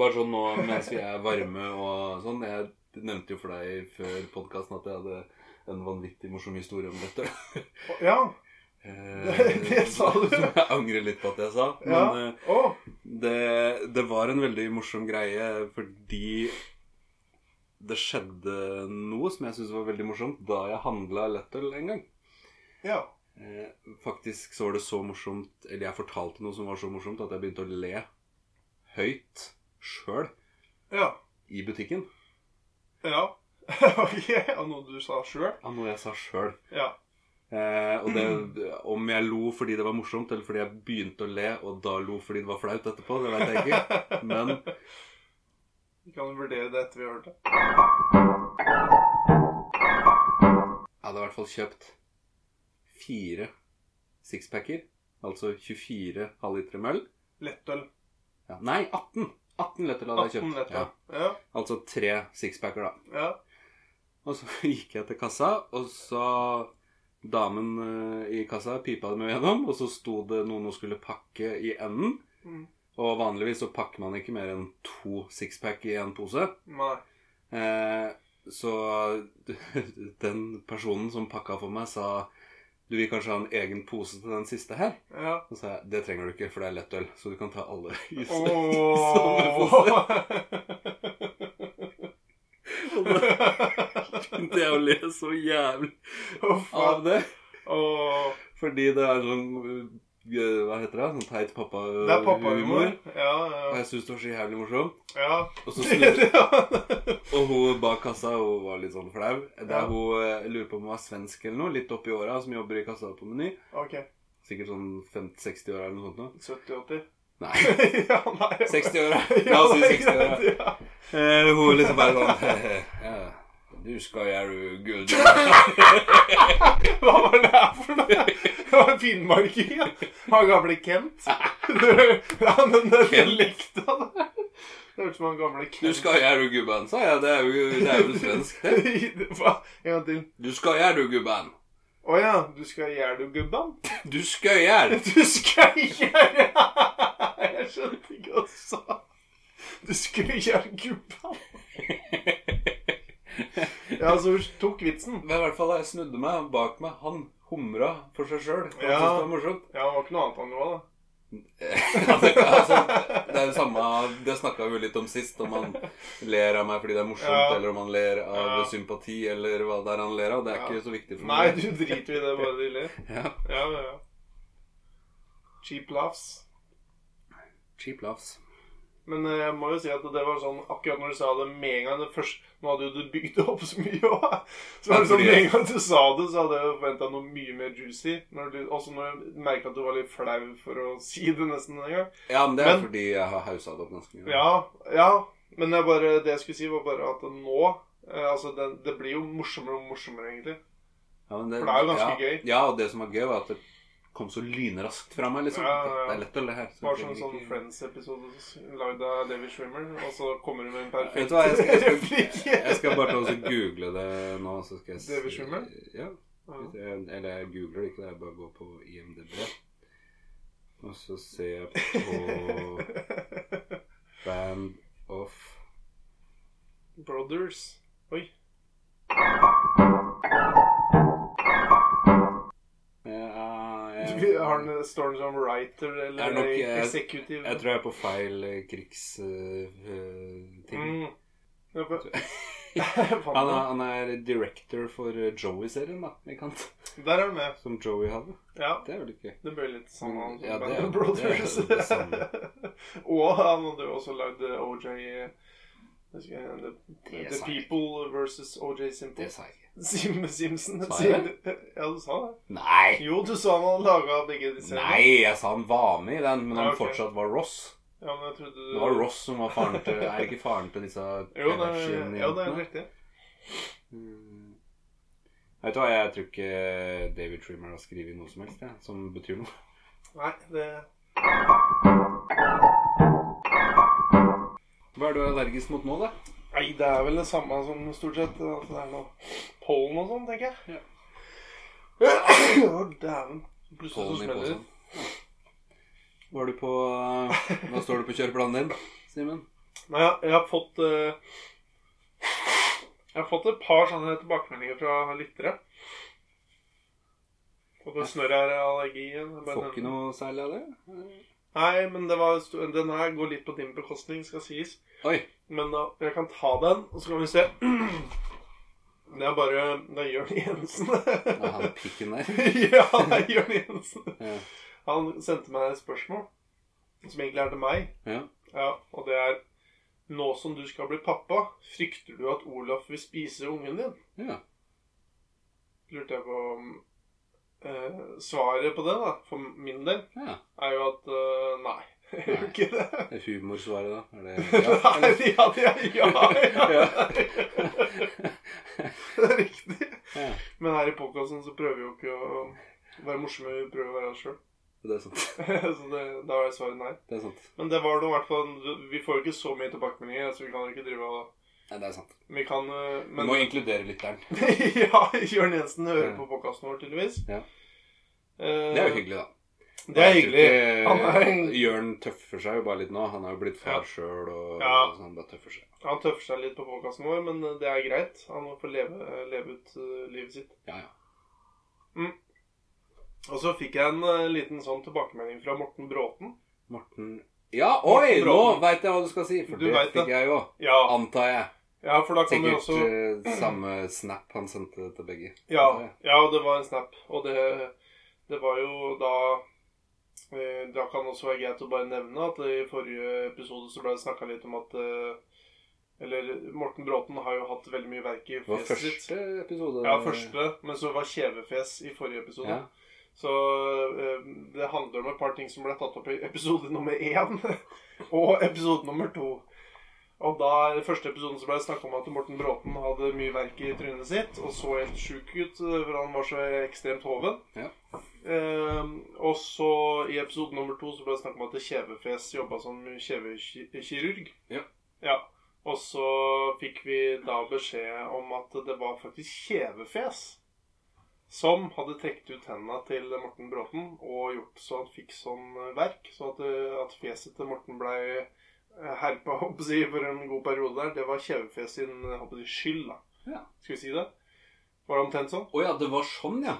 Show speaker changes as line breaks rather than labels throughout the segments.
bare sånn nå mens vi er varme og sånn Jeg nevnte jo for deg før podkasten at jeg hadde en vanvittig morsom historie om dette.
Ja.
Eh,
Det sa du.
Som jeg angrer litt på at jeg sa. Men
ja.
eh,
Å,
det, det var en veldig morsom greie fordi det skjedde noe som jeg syntes var veldig morsomt da jeg handla lettøl en gang.
ja.
Eh, faktisk så var det så morsomt Eller jeg fortalte noe som var så morsomt at jeg begynte å le høyt sjøl
Ja.
i butikken.
Ja. ok, av noe du sa sjøl?
Av noe jeg sa sjøl.
Ja.
Eh, og det, om jeg lo fordi det var morsomt, eller fordi jeg begynte å le og da lo fordi det var flaut etterpå, det veit jeg ikke. Men
Vi kan vurdere det etter vi har hørt det.
Jeg hadde i hvert fall kjøpt fire sixpacker, altså 24 halvlitere med øl.
Lettøl.
Ja, nei, 18! 18 lettøl hadde jeg
18
kjøpt.
lettøl. Ja.
Ja, altså tre sixpacker, da.
Ja.
Og så gikk jeg til kassa, og så Damen eh, i kassa pipa dem gjennom, og så sto det noen hun skulle pakke i enden.
Mm.
Og vanligvis så pakker man ikke mer enn to sixpack i én pose.
Nei.
Eh, så den personen som pakka for meg, sa Du vil kanskje ha en egen pose til den siste her? Og
Ja.
så sa jeg det trenger du ikke, for det er lettøl. Så du kan ta alle i
Åh.
stedet. Og da begynte jeg å le så jævlig
Å, faen.
av det.
Åh.
Fordi det er sånn øh, Hva heter det? Sånn teit
Det er pappahumor.
pappa-humor.
Ja,
Og
ja.
jeg syns det var så jævlig morsomt.
ja.
Og, så snur, og hun bak kassa hun var litt sånn flau. Det
Ja.
er hun, øh, jeg lurer på om hun var svensk eller noe, litt oppi åra, som jobber i kassa på Meny.
ok.
Sikkert sånn 50-60 år eller noe sånt. nå.
70-80.
Nei,
ja, nei.
60 år. da. La oss si 60 år. da.
Ja.
Eh, hun liksom bare sånn ja, Du skal gjøre good.
Hva var det her for noe? Det var finnmarkingen. Han gamle Kent. Du, ja, men den
Kent?
lekta der. Det hørtes ut som han gamle Kent.
Du skal gjøre gubben, sa jeg. Det er jo, det er jo svensk, det.
Hva? En gang til.
Du skal gjøre gubben.
Å ja, du skal gjøre det, gubben?
Du skal gjøre.
Du skal gjøre Jeg skjønte ikke hva du sa. Du skulle gjøre gubben. Ja, så hun tok vitsen.
Men i hvert fall, jeg snudde meg bak meg. Han humra for seg sjøl. Han
Ja.
syntes det var morsomt.
Ja, det var ikke noe annet han gjorde, da.
altså, det er jo samme Det snakka vi jo litt om sist. Om han ler av meg fordi det er morsomt,
Ja.
eller om han ler av
Ja.
sympati, eller hva det er han ler av. Det er
Ja.
ikke så viktig for
Nei,
meg.
du driter i det bare du ler.
Ja.
Ja, ja, ja. Cheap laughs.
Cheap laughs.
Men eh, jeg må jo si at det var sånn akkurat når du sa det med en gang det først, Nå hadde jo du bygd det opp så mye òg. Så var det sånn, med en gang du sa det, så hadde jeg forventa noe mye mer juicy. Når du, også når jeg merka at du var litt flau for å si det nesten en gang.
Ja, men det er
Men-
fordi jeg har haussa det opp ganske mye.
Ja, ja. Men jeg bare, det jeg skulle si, var bare at nå eh, Altså, det, det blir jo morsommere og morsommere, egentlig.
Ja, men det,
For det er jo ganske
ja,
gøy.
Ja, og det som var gøy, var at det kom så lynraskt fra meg, liksom.
Ja, ja, ja.
Det er lett å le her.
Det var
jeg
som en
trenger
sånn
ikke-
Friends-episode lagd av David Schwimmer, og så kommer du med en
Vet
perfekt
du hva, jeg skal, jeg
replikk.
skal, jeg skal bare ta og så google det nå, så skal jeg se-
David Schwimmer?
Ja.
Ja.
Jeg- Eller jeg googler det ikke, jeg bare går på IMDb. Og så ser jeg på Band of
Brothers. Oi.
Eh, ah, jeg,
Har han Storm som writer
Det
eller
er nok, eh,
executive?
jeg tror jeg er på feil eh, krigs... eh, ting.
Mm. Ja, for-
Han
Faen,
er, han er director for eh, Joey-serien, da. Ikke sant?
Der er han med.
Som Joey hadde.
Ja,
Det er vel ikke
det ble litt sånn han som
Mm, Ja, det
Band
er-
of Brothers.
det er det samme.
Og han hadde jo også lagd eh, OJ eh, hva skal jeg si, The,
Det
the
sa jeg.
People versus OJ Simple.
sa jeg ikke.
Sim, Simpson.
Sa jeg
Ja, du sa det.
Nei!
Jo, du sa han hadde laga begge de seriene.
Nei, jeg sa han var med i den, men han
Ja, ok.
fortsatt var Ross.
Ja, men jeg trodde du
Det var Ross som var faren til Er ikke faren til disse
Jo, det er, ja, det er
Kardashian-jentene?
riktig.
Mm. Vet du hva, jeg tror ikke David Trimmer har skrevet noe som helst, jeg, som betyr noe.
Nei, det
Hva er du allergisk mot nå, da?
Nei, det er vel det samme som stort sett. eh, At det er noe pollen og sånn, tenker jeg. Ja. Dæven. Plutselig så
Pollen i
smeller det.
eh, posen. Var du på Hva står det på kjøreplanen din, Simen?
Nei, jeg, jeg har fått eh, Jeg har fått et par sånne tilbakemeldinger fra lyttere. Og det snørr er allergi igjen. jeg bare sånn.
Får ikke
nevner.
noe særlig av det.
Nei, men det var, den her går litt på din bekostning, skal sies.
Oi.
Men da, jeg kan ta den, og så kan vi se. Det er bare Det er Jørn Jensen.
Det er han pikken der.
ja, det er Jørn Jensen.
Ja.
Han sendte meg et spørsmål som egentlig er til meg.
ja.
Ja, og det er Nå som du skal bli pappa, frykter du at Olaf vil spise ungen din?
ja.
Lurte jeg på om eh, Svaret på det, da, for min del,
ja.
er jo at eh, nei. Jeg gjør ikke det.
Det er humorsvaret, da. Er det ja?
Nei,
eller?
ja, det er ja, ja. Det er riktig.
ja.
Men her i podkasten så prøver vi jo ikke å være morsomme, vi prøver å være oss sjøl.
Det er sant.
Så det, da er svaret nei.
Det er sant.
Men det var nå i hvert fall Vi får jo ikke så mye tilbakemeldinger, så vi kan jo ikke drive og
Nei, det er sant.
Vi kan eh,
Du
men, Eh,
må inkludere lytteren.
ja, Jørn Jensen hører
Ja.
på podkasten vår, tydeligvis.
Ja.
Eh,
Det er jo hyggelig, da.
Det er
Jeg tror
hyggelig.
ikke-
Han er en-
Jørn tøffer seg jo bare litt nå. Han er jo blitt
Ja.
far sjøl, og
Ja.
så han bare tøffer seg.
Han tøffer seg litt på podkasten vår, men eh, det er greit. Han må få leve, eh, leve ut eh, livet sitt.
Ja, ja.
Og så fikk jeg en eh, liten sånn tilbakemelding fra Morten Bråten.
Morten Ja,
Morten
oi!
Bråten.
Nå veit jeg hva du skal si, for
Du
det
vet
fikk
det.
jeg jo.
Ja,
Antar jeg.
ja for da kan du
Sikkert
også
eh, samme snap han sendte til begge.
Ja, ja, det var en snap. Og det, det var jo da eh, Da kan det også være greit å bare nevne at i forrige episode så ble det snakka litt om at eh, Eller Morten Bråten har jo hatt veldig mye verk i
Det var
fjeset sitt.
første episode.
Ja, første, men så var kjevefjes i forrige episode.
Ja.
Så eh, det handler om et par ting som ble tatt opp i episode nummer én og episode nummer to. Og da I første episoden så ble det snakka om at Morten Bråten hadde mye verk i trynet sitt og så helt sjuk ut, eh, for han var så ekstremt hoven.
Ja.
Eh, og så i episode nummer to så ble det snakk om at kjevefjes jobba som kjevekirurg.
Ja.
ja. Og så fikk vi da beskjed om at det var faktisk kjevefjes som hadde trukket ut hendene til Morten Bråten og gjort så han fikk sånn verk, så at, eh, at fjeset til Morten blei herpa håper jeg å si, for en god periode der. Det var kjevefjes sin eh, håper jeg å si, skyld, da.
Ja.
Skal vi si det? Var det omtrent sånn?
Å ja, det var sånn, ja.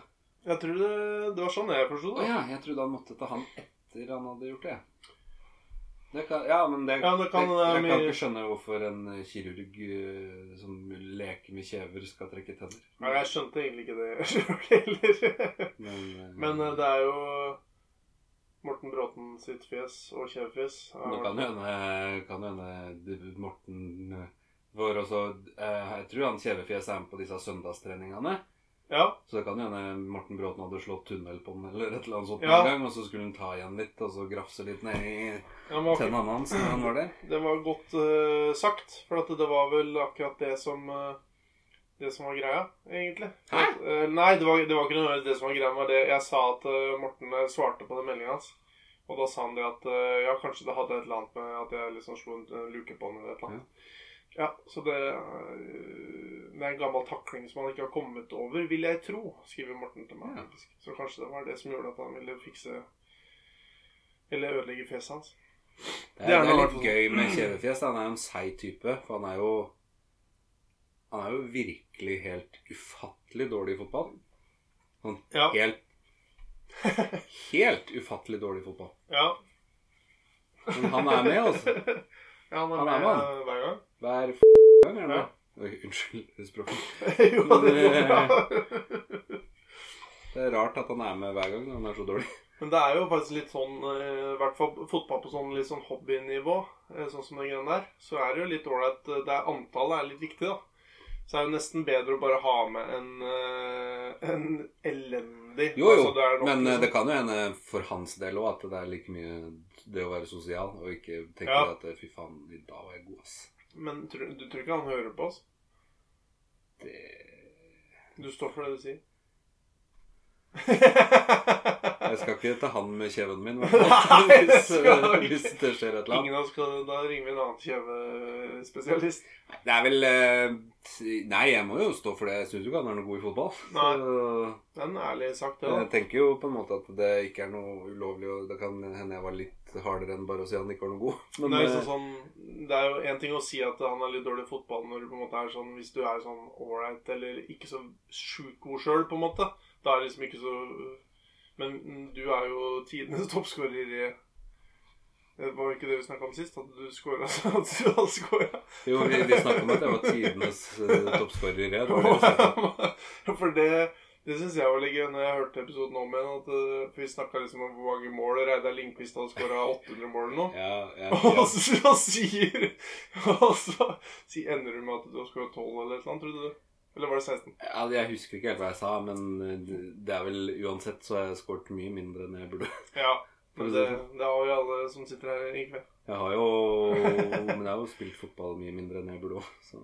Jeg tror det, det var sånn jeg forsto
Å
det.
ja. Jeg trodde han måtte ta han etter han hadde gjort det. det kan, ja, men det,
Ja, men det kan-
jeg, jeg
eh, det er
kan
mye-
ikke skjønne hvorfor en eh, kirurg eh, som leker med kjever, skal trekke tenner.
Nei, jeg skjønte egentlig ikke det sjøl heller.
Men, eh,
Men eh, det er jo Morten Bråten sitt fjes og kjevefjes.
Det kan jo hende, kan jo hende det- Morten eh, var også eh, Jeg tror han kjevefjes er med på disse søndagstreningene.
Ja,
Så det kan jo hende Morten Bråten hadde slått tunnel på den, eller et eller annet sånt
Ja.
en gang, og så skulle han ta igjen litt, og så grafse litt ned i
han var
tennene hans når han var der.
Det var godt eh, sagt, for at det var vel akkurat det som eh, Det som var greia, egentlig.
Hæ?
Eh, nei, det var, det var ikke noe det som var greia. Det var det jeg sa at eh, Morten eh, svarte på den meldinga hans. Og da sa han det at eh, ja, kanskje det hadde et eller annet med at jeg liksom slo en eh, luke på han eller et eller annet. Ja, så det, eh, det er en gammel takling som han ikke har kommet over, vil jeg tro, skriver Morten til meg.
Ja.
faktisk. Så kanskje det var det som gjorde at han ville fikse Eller ødelegge fjeset hans.
Det
Det
er,
er
det er
noe
litt gøy med kjevefjes. da. Han er jo en seig type, for han er jo Han er jo virkelig helt ufattelig dårlig i fotball.
Ja.
Helt Helt ufattelig dårlig i fotball.
ja.
Men han er med, altså.
Ja, han er
Han er
med,
med,
eh, hver gang.
Hver f*** gang, er det? Oi, Unnskyld språket.
jo, det går bra.
Det er rart at han er med hver gang når han er så dårlig.
Men det er jo faktisk litt sånn, eh, i hvert fall fotball på sånn litt sånn hobbynivå, eh, sånn som den greia der, så er det jo litt ålreit eh, det er Antallet er litt viktig, da. Så er det nesten bedre å bare ha med en, eh, en elendig
Jo, jo,
altså, det er nok,
men eh,
liksom.
det kan jo hende for hans del òg at det er like mye det å være sosial og ikke tenke
Ja.
at eh, fy faen, i dag var jeg god, ass.
Men tror, du tror ikke han hører på oss?
Det...
Du står for det du sier?
Jeg skal ikke til han med kjeven min, i hvert fall.
Nei, det
Hvis,
skal du
eh,
ikke.
hvis det skjer et eller annet.
Ingen av oss skal Da ringer vi en annen kjevespesialist.
eh, Det er vel eh, t- Nei, jeg må jo stå for det. Jeg syns jo ikke han er noe god i fotball. Så
Det er en ærlig sagt, det,
Jeg
da.
tenker jo på en måte at det ikke er noe ulovlig, og det kan hende jeg var litt hardere enn bare å si at han ikke var noe god. Men
Det er,
eh,
liksom sånn, det er jo en ting å si at han er litt dårlig i fotball når du på en måte er sånn Hvis du er sånn ålreit eller ikke så sjukt god sjøl, på en måte. Da er det liksom ikke så Men mm, du er jo tidenes toppskårer i Det var ikke det vi snakka om sist, at du skåra at du hadde skåra.
Jo, vi, vi snakket om at jeg var tidenes eh, toppskårer. jeg. Det var det vi snakket om.
For det det syns jeg var litt gøy når jeg hørte episoden om igjen. At, eh, for vi snakka liksom om hvor mange mål Reidar Lindqvist hadde skåra 800 mål eller noe.
Ja, ja,
Og
ja.
så så sier Og så sier- ender du med at du har skåret 12 eller et eller annet, trodde du? Eller var det 16?
Ja, Jeg husker ikke helt hva jeg sa, men eh, det er vel uansett så har jeg skåret mye mindre enn jeg burde.
Ja. Men det, det har jo alle som sitter her i kveld.
Jeg har jo Men jeg har jo spilt fotball mye mindre enn jeg burde òg, så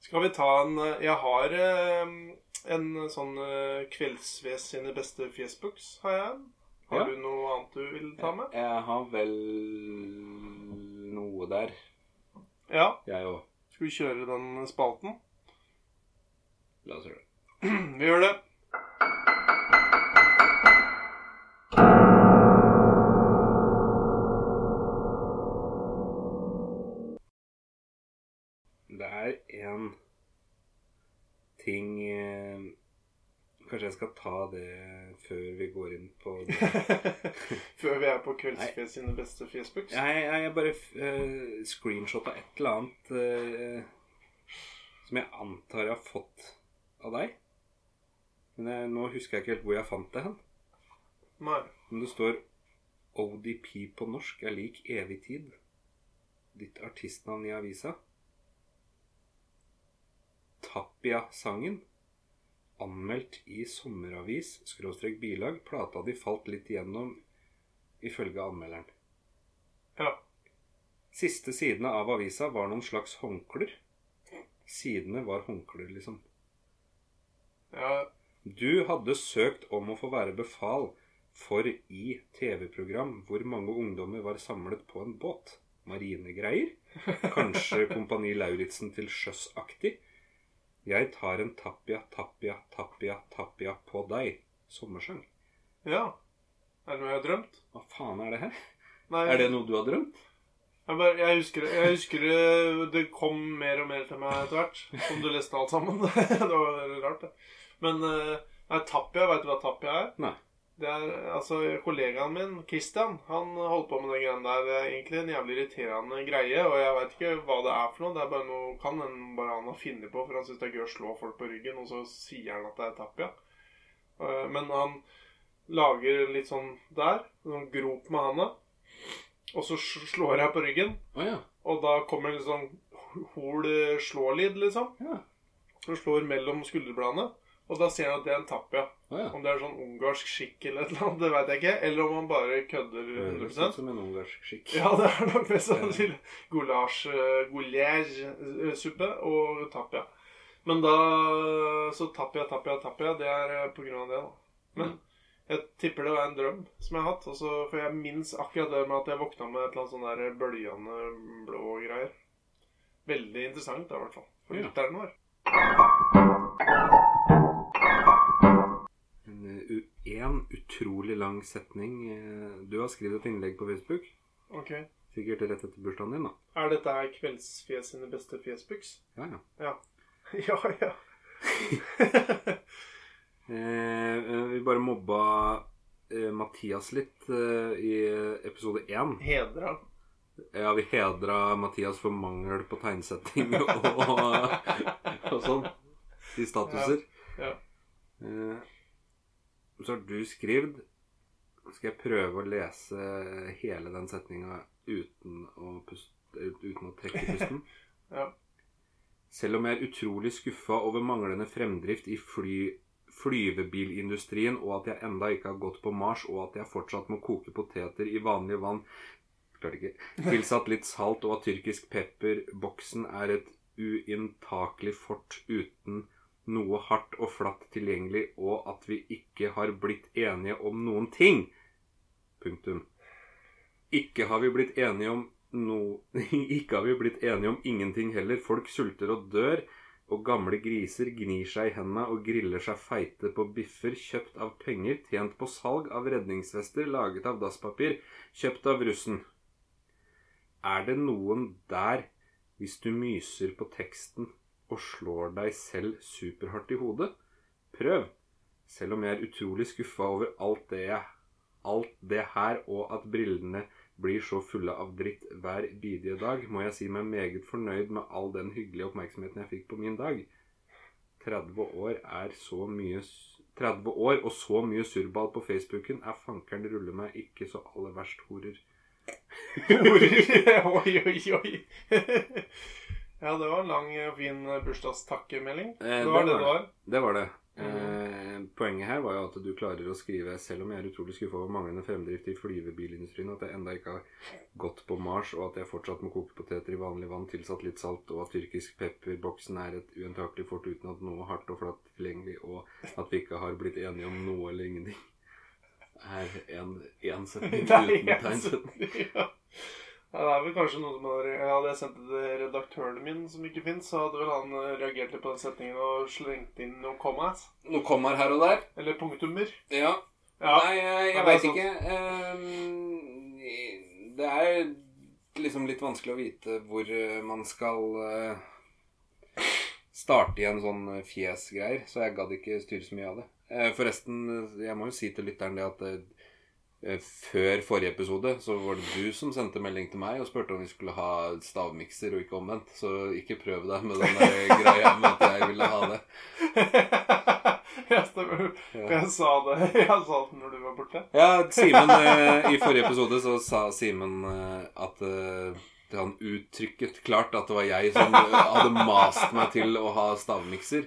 Skal vi ta en eh, Jeg har eh, en sånn eh, Kveldsves sine beste fjesbooks, har jeg. Har
Ja.
du noe annet du vil ta med?
Jeg har vel noe der,
Ja.
jeg òg.
Skal vi kjøre den spalten?
La oss gjøre det.
Vi gjør det.
Det er en ting eh, Kanskje jeg skal ta det før vi går inn på det.
Før vi er på Kveldsfjes sine beste fjesbooks.
Jeg, jeg, jeg bare uh, screenshotta et eller annet eh, som jeg antar jeg har fått av deg. Men jeg, nå husker jeg ikke helt hvor jeg fant det hen.
Nei.
Men det står ODP på norsk er lik evig tid. Ditt artistnavn i avisa. Tapia-sangen. Anmeldt i sommeravis, skråstrek bilag. Plata di falt litt igjennom, ifølge anmelderen.
Ja.
Siste sidene av avisa var noen slags håndklær. Sidene var håndklær, liksom.
ja.
Du hadde søkt om å få være befal for i TV-program hvor mange ungdommer var samlet på en båt. Marinegreier. Kanskje Kompani Lauritzen til sjøs-aktig. Jeg tar en tapia, tapia, tapia, tapia på deg. Sommersang.
Ja. Er det noe jeg har drømt?
Hva faen er det her?
Nei.
Er det noe du har drømt?
Jeg, bare, jeg, husker, det- jeg husker det Det kom mer og mer til meg etter hvert. Som du leste alt sammen. det var veldig rart, det. Men eh, nei, Tapia, veit du hva Tapia er?
Nei.
Det er altså Kollegaen min, Christian, han holdt på med den greia der. Det er egentlig en jævlig irriterende greie. Og jeg veit ikke hva det er for noe. Det er bare noe kan en bare han har funnet på, for han syns det er gøy å slå folk på ryggen, og så sier han at det er Tapia. Eh, Men han lager litt sånn der, sånn grop med handa, og så sl- slår jeg på ryggen.
Å ja.
Og da kommer en sånn hol slålyd, liksom.
Ja.
Som slår mellom skulderbladene. Og da ser han at det er en tapia.
Å ja.
Om det er sånn ungarsk skikk eller et eller annet, det veit jeg ikke. Eller om han bare kødder
Det høres
100
ut som en ungarsk skikk.
Ja, det er nok mest sannsynlig goulash, eh, goulash-suppe og tapia. Men da Så tapia, tapia, tapia, det er eh, på grunn av det, da. Men jeg tipper det var en drøm som jeg har hatt. og så- for jeg minnes akkurat det med at jeg våkna med et eller annet sånn der bølgende blå greier. Veldig interessant, da, i hvert fall. For
Ja.
lytteren vår.
En, u- en utrolig lang setning. eh, Du har skrevet et innlegg på Facebook.
Ok.
Sikkert rett etter bursdagen din, da.
Er dette her Kveldsfjes sine beste fjesbuks?
Ja, ja.
ja, ja.
Eh, eh, vi bare mobba eh, Mathias litt eh, i episode én.
Hedra.
Ja, vi hedra Mathias for mangel på tegnsetting og, og sånn i statuser.
Ja,
Eh, så har du skrevet Skal jeg prøve å lese hele den setninga uten, å pust- uten å trekke pusten?
Ja.
Selv om jeg er utrolig skuffa over manglende fremdrift i fly, flyvebilindustrien, og at jeg enda ikke har gått på Mars, og at jeg fortsatt må koke poteter i vanlig vann Klarer ikke. Tilsatt litt salt og at tyrkisk pepper. Boksen er et uinntakelig fort uten noe hardt og flatt tilgjengelig, og at vi ikke har blitt enige om noen ting. Punktum. Ikke har vi blitt enige om noe Ikke har vi blitt enige om ingenting heller. Folk sulter og dør. og gamle griser gnir seg i hendene og griller seg feite på biffer kjøpt av penger, tjent på salg av redningsvester laget av dasspapir, kjøpt av russen. Er det noen der, hvis du myser på teksten og slår deg selv superhardt i hodet? Prøv, selv om jeg er utrolig skuffa over alt det jeg Alt det her og at brillene blir så fulle av dritt hver bidige dag, må jeg si meg meget fornøyd med all den hyggelige oppmerksomheten jeg fikk på min dag. 30 år er så mye s- 30 år og så mye surrball på Facebooken er fankeren rulle meg ikke så aller verst, horer.
oi, oi, oi. ja, det var en lang og fin bursdagsstakkemelding.
Eh,
Det var det
det
det var.
Det var det. Eh, poenget her var jo at du klarer å skrive Selv om jeg er utrolig skuffa over manglende fremdrift i flyvebilindustrien, at jeg enda ikke har gått på Mars, og at jeg fortsatt må koke poteter i vanlig vann tilsatt litt salt, og at tyrkisk pepperboksen er et uentakelig fort uten at noe hardt og flatt tilgjengelig, og at vi ikke har blitt enige om noe eller ingenting, er en, en setning
Det er
uten
helt
tegnsetning.
sant. Ja. Ja, det er vel kanskje noe som har- ja, Hadde jeg sendt det til redaktøren min, som ikke fins, så hadde vel han eh, reagert litt på den setningen og slengt inn noen commas.
Noe kommer her og der.
Eller punktummer.
Ja.
Ja.
Nei, jeg,
Ja,
jeg
det er
veit ikke. Ehm, Det er liksom litt vanskelig å vite hvor eh, man skal eh, starte i en sånn fjesgreier, så jeg gadd ikke styre så mye av det. Eh, Forresten, jeg må jo si til lytteren det at eh, før forrige episode så var det du som sendte melding til meg og spurte om vi skulle ha stavmikser og ikke omvendt, så ikke prøv deg med den der greia med at jeg ville ha det.
ja, stemmer.
Ja.
Jeg sa det Jeg sa det når du var borte.
Ja, Simen eh, I forrige episode så sa Simen eh, at eh, han uttrykket klart at det var jeg som eh, hadde mast meg til å ha stavmikser.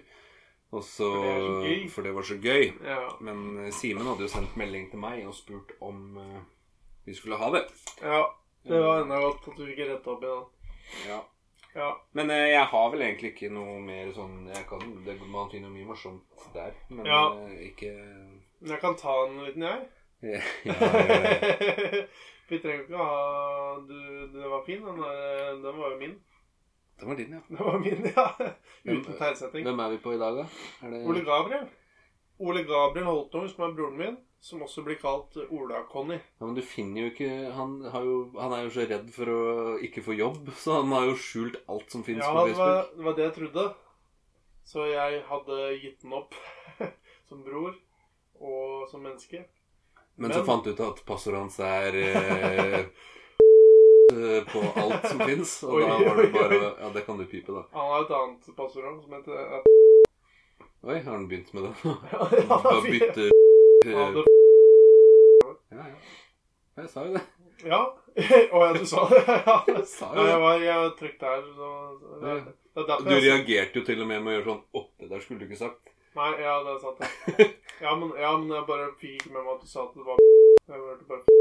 Og så,
For det er så gøy.
for det var så gøy.
Ja.
Men eh, Simen hadde jo sendt melding til meg og spurt om eh, vi skulle ha det.
ja. Det var enda godt at du ikke retta opp i den.
Ja.
Ja.
Men eh, jeg har vel egentlig ikke noe mer sånn jeg kan, det, Man finner mye morsomt der, men
Ja.
eh, ikke
Men jeg kan ta en liten, jeg.
ja, ja, ja.
Vi trenger ikke å ha du, Den var fin, den, der, den var jo min.
Det var din, ja.
Den var min, ja. Uten
Hvem-
tegnsetting.
Hvem er vi på i dag, da? Er det...
Ole Gabriel. Ole Gabriel Holtung, som er broren min, som også blir kalt Ola-Conny.
Ja, men du finner jo ikke han, har jo, han er jo så redd for å ikke få jobb, så han har jo skjult alt som fins
Ja,
på
det
Facebook.
var, det var det jeg trodde. Så jeg hadde gitt den opp som bror og som menneske.
men, så
men-
fant du ut at passordet hans er eh, eh, på alt som fins, og
Oi,
da var det
oi,
bare
oi.
Ja, det kan du pipe, da.
Han har et annet passord han, som heter
Oi, har han begynt med det?
Ja,
Bare
ja,
bytte
han
eh,
hadde-
Ja, ja. Jeg sa jo det.
ja. Å ja, du sa det. Ja,
Jeg sa
Ja,
jo
jeg
det.
var jeg trykte her, så det,
Ja.
er- det er
Og
derfor
Du
jeg-
reagerte jo til og med med å gjøre sånn Å, det der skulle du ikke sagt.
Nei, ja, det er sant. ja. Ja, men, ja, men jeg bare fikk ikke med meg at du sa at det var Jeg hørte bare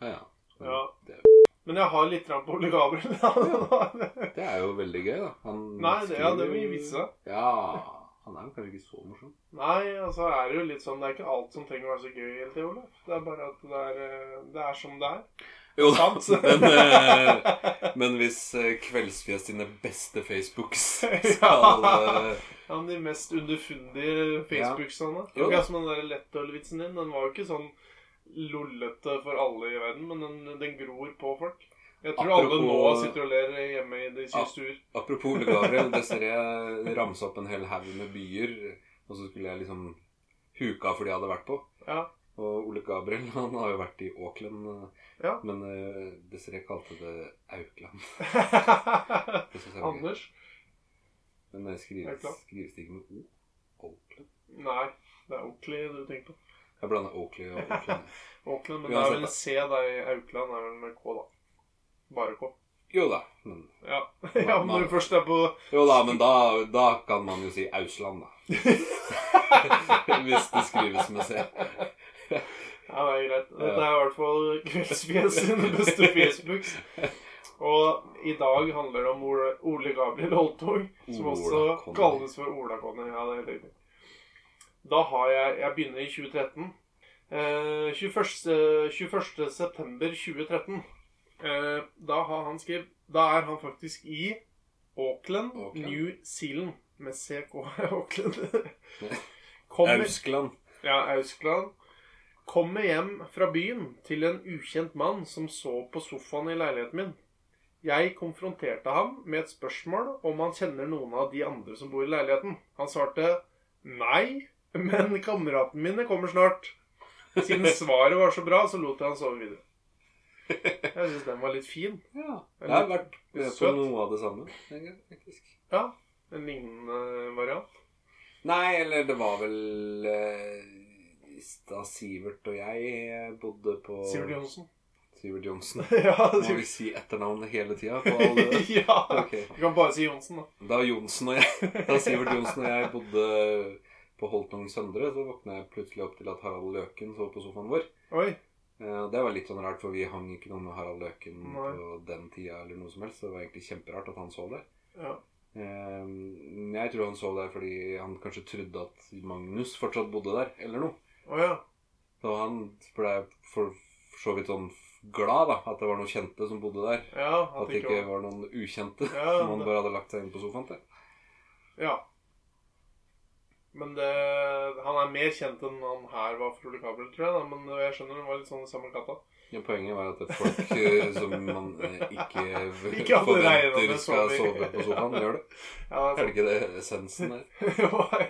Ja, ja.
Ja.
Det-
Men jeg har litt grann på Ole Gabriel. Ja.
Det er jo veldig gøy, da. Han
Nei, det, ja, det
skriver
vil
jo-
vi vise.
Ja. Han er jo kanskje ikke så morsom.
Nei, altså er det jo litt sånn Det er ikke alt som trenger å være så gøy hele tiden, Ole. Det er bare at det er, eh, det er som det er.
Jo da,
Sant?
men, eh, men hvis eh, Kveldsfjes sine beste Facebooks skal eh,
Ja, men de mest underfundige Facebook-sene.
Jo da.
Akkurat som den der lettølvitsen din. Den var jo ikke sånn lollete for alle i verden, men den, den gror på folk. Jeg tror alle nå
Apropos-
sitter og ler hjemme i de
Ja.
sin stuer.
Apropos Ole Gabriel, det ser jeg ramse opp en hel haug med byer, og så skulle jeg liksom huka for de jeg hadde vært på.
Ja.
Og Ole Gabriel han har jo vært i Auckland, eh,
Ja.
men eh, Desiree kalte det Aukland. Det synes jeg var gøy.
Anders?
Men det skrives,
Auckland.
skrives det ikke med O? Auckland?
Nei, det er Oakley du tenker på.
Jeg blander Oakley og Auckland.
Auckland,
Uansett,
men det er
da.
vel C der i Aukland, er vel med K, da. Bare K.
Jo da, men,
Ja, ja men når du først er på
jo da, men da, da kan man jo si Ausland, da. Hvis det skrives med C.
Ja, det er greit. Dette er i hvert fall Kveldsfjes sine beste Facebooks. Og i dag handler det om Ole, Ole Gabriel Holtog, som
Ola
også
Conny.
kalles for Ola-Conny. Ja, det er helt riktig. Da har jeg Jeg begynner i 2013. Eh, 21. 21. september 2013. Eh, da har han skrevet Da er han faktisk i Auckland,
Auckland.
New Zealand. med CK Auckland.
Ja.
Kommer,
Auskland.
ja, Auskland. Kommer hjem fra byen til en ukjent mann som sov på sofaen i leiligheten min. Jeg konfronterte ham med et spørsmål om han kjenner noen av de andre som bor i leiligheten. Han svarte nei, men kameratene mine kommer snart. Siden svaret var så bra, så lot jeg han sove videre. Jeg syns den var litt fin.
Ja. Jeg har vært med på
Søt.
noe av det samme. egentlig, faktisk.
Ja, En lignende variant.
Nei, eller det var vel eh, da Sivert og jeg eh, bodde på
Sivert Johnsen.
Sivert Johnsen.
Ja,
Må vi
Sivert.
si etternavnet hele tida på alle
ja.
Ok.
Du kan bare si Johnsen, da.
Da Johnsen og jeg Da Sivert Johnsen og jeg bodde på Holtong Søndre, så våkna jeg plutselig opp til at Harald Løken sov på sofaen vår.
Oi.
Eh, Det var litt sånn rart, for vi hang ikke noe med Harald Løken
Nei.
på den tida eller noe som helst. så Det var egentlig kjemperart at han sov der.
Ja.
Eh, men Jeg tror han sov der fordi han kanskje trodde at Magnus fortsatt bodde der, eller noe.
Å ja.
Så han ble for for så vidt sånn glad, da, at det var noen kjente som bodde der.
Ja,
At det ikke var noen ukjente
Ja,
som han
det-
bare hadde lagt seg inn på sofaen til.
Ja. Men det, han er mer kjent enn han her var for Ole Kabel, tror jeg. Da. Men jeg skjønner han var litt sånn samme katta.
Ja, poenget var at det er folk eh, som man eh, ikke,
Ikke hadde regnet
forventer
med
skal
soving.
sove på sofaen, gjør det.
Ja,
Er det ikke det essensen er?
det var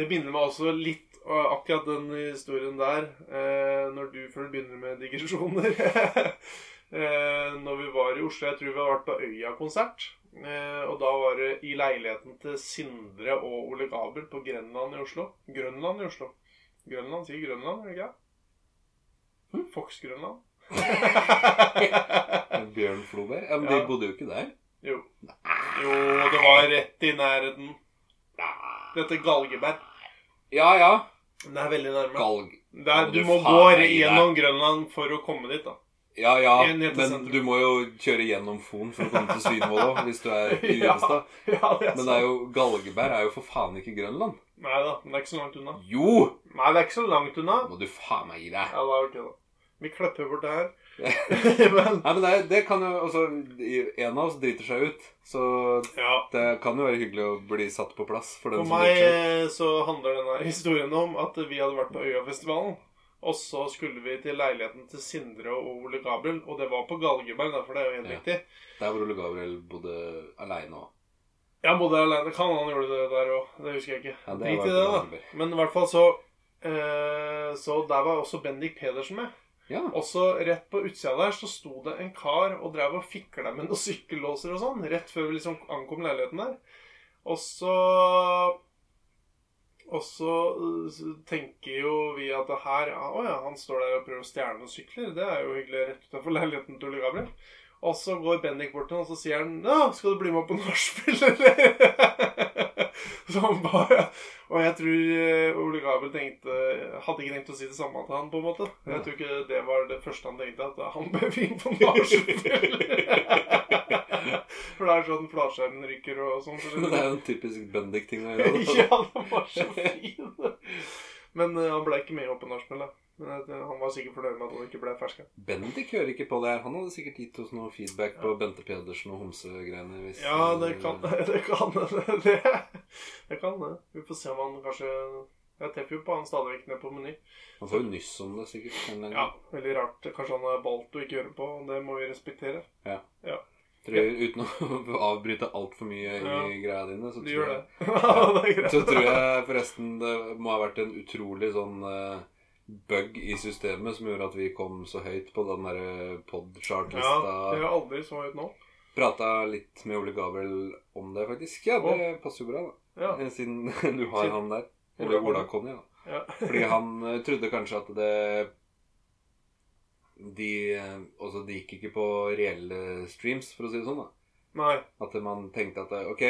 Det minner meg også litt av akkurat den historien der, eh, når du først begynner med digresjoner. eh, når vi var i Oslo, jeg tror vi har vært på Øya-konsert. Eh, og da var det i leiligheten til Sindre og Ole Gabel på Grenland i Oslo. Grønland i Oslo. Grønland sier Grønland, gjør det ikke? det? Fox Grønland?
Bjørn Floberg? Ja, men de
Ja.
bodde jo ikke der.
Jo. Jo, det var rett i nærheten. Dette Galgeberg.
Ja ja.
Det er veldig nærme.
Galg.
Det er,
Må
du
du
må
faen
gå
meg gi
gjennom Grønland for å komme dit, da.
Ja ja,
En helt i
men
sentrum.
du må jo kjøre gjennom Fon for å komme til Svinvoll òg, hvis du er i
Ja.
Grimstad.
Ja, det
Men det er jo, Galgeberg er jo for faen ikke Grønland.
Nei da, men det er ikke så langt unna.
Jo!
Nei, det er ikke så langt unna.
Må du faen meg gi deg.
Ja, da er det ok, da. Vi klipper bort det her. men
Nei, men det, det kan jo Altså, en av oss driter seg ut. Så
ja.
det kan jo være hyggelig å bli satt på plass for den
For
som
meg
driter seg ut.
eh, så handler denne historien om at vi hadde vært på Øyafestivalen. Og så skulle vi til leiligheten til Sindre og Ole Gabriel. Og det var på Galgeberg, da, for det er jo helt
Ja.
riktig.
Der hvor Ole Gabriel bodde aleine òg.
Jeg bodde der alene. Kan han gjorde det der òg? Det husker jeg ikke.
Ja, det var
Drit i
på
det, da.
Galgeberg.
Men i hvert fall så eh, Så der var også Bendik Pedersen med.
Ja.
Også rett på utsida der så sto det en kar og drev og fikla med noen sykkellåser og sånn. Rett før vi liksom ankom leiligheten der. Og så Og så øh, så tenker jo vi at det her ja, Å ja, han står der og prøver å stjele noen sykler. Det er jo hyggelig rett utafor leiligheten til Ole Gabriel. Og så går Bendik bort til han, og så sier han Ja, skal du bli med på nachspiel, eller? så han bare Og jeg tror eh, Ole Gabriel tenkte Hadde ikke tenkt å si det samme til han, på en måte. Jeg tror ikke det var det første han tenkte, at han bør bli med på nachspiel. For det er sånn flatskjermen ryker og sånn. så
Men det
det-
er jo en typisk Bendik-ting å gjøre. da.
ja, den var så fin. Men eh, han ble ikke med opp på nachspiel, da. Men jeg tror han var sikkert fornøyd med at han ikke ble ferska.
Bendik hører ikke på det her. Han hadde sikkert gitt oss noe feedback på Bente Pedersen og homsegreiene. hvis-
Ja, det kan det. Kan, det, det kan det. Vi får se om han kanskje Jeg treffer jo på han stadig vekk nede på Meny.
Han får jo nyss om det, sikkert. en eller annen
Ja,
gang.
veldig rart. Kanskje han har valgt å ikke høre på, og det må vi respektere.
Tror, uten å avbryte altfor mye i greia dine, så
Du gjør
tror,
det.
jeg,
Ja, det er greit.
så tror jeg forresten det må ha vært en utrolig sånn eh, bug i systemet som gjorde at vi kom så høyt på den derre
Ja,
pod-chart-lista.
det er aldri så høyt nå.
Prata litt med Ole Gabriel om det, faktisk. Ja, det passer jo bra, da.
Ja.
Eh, Siden du har
Siden-
han der. Eller
Ola
Ola Conny, da.
ja.
Fordi han eh, trodde kanskje at det de, eh, altså, de gikk ikke på reelle streams, for å si det sånn. da
Nei.
At man tenkte at eh, ok,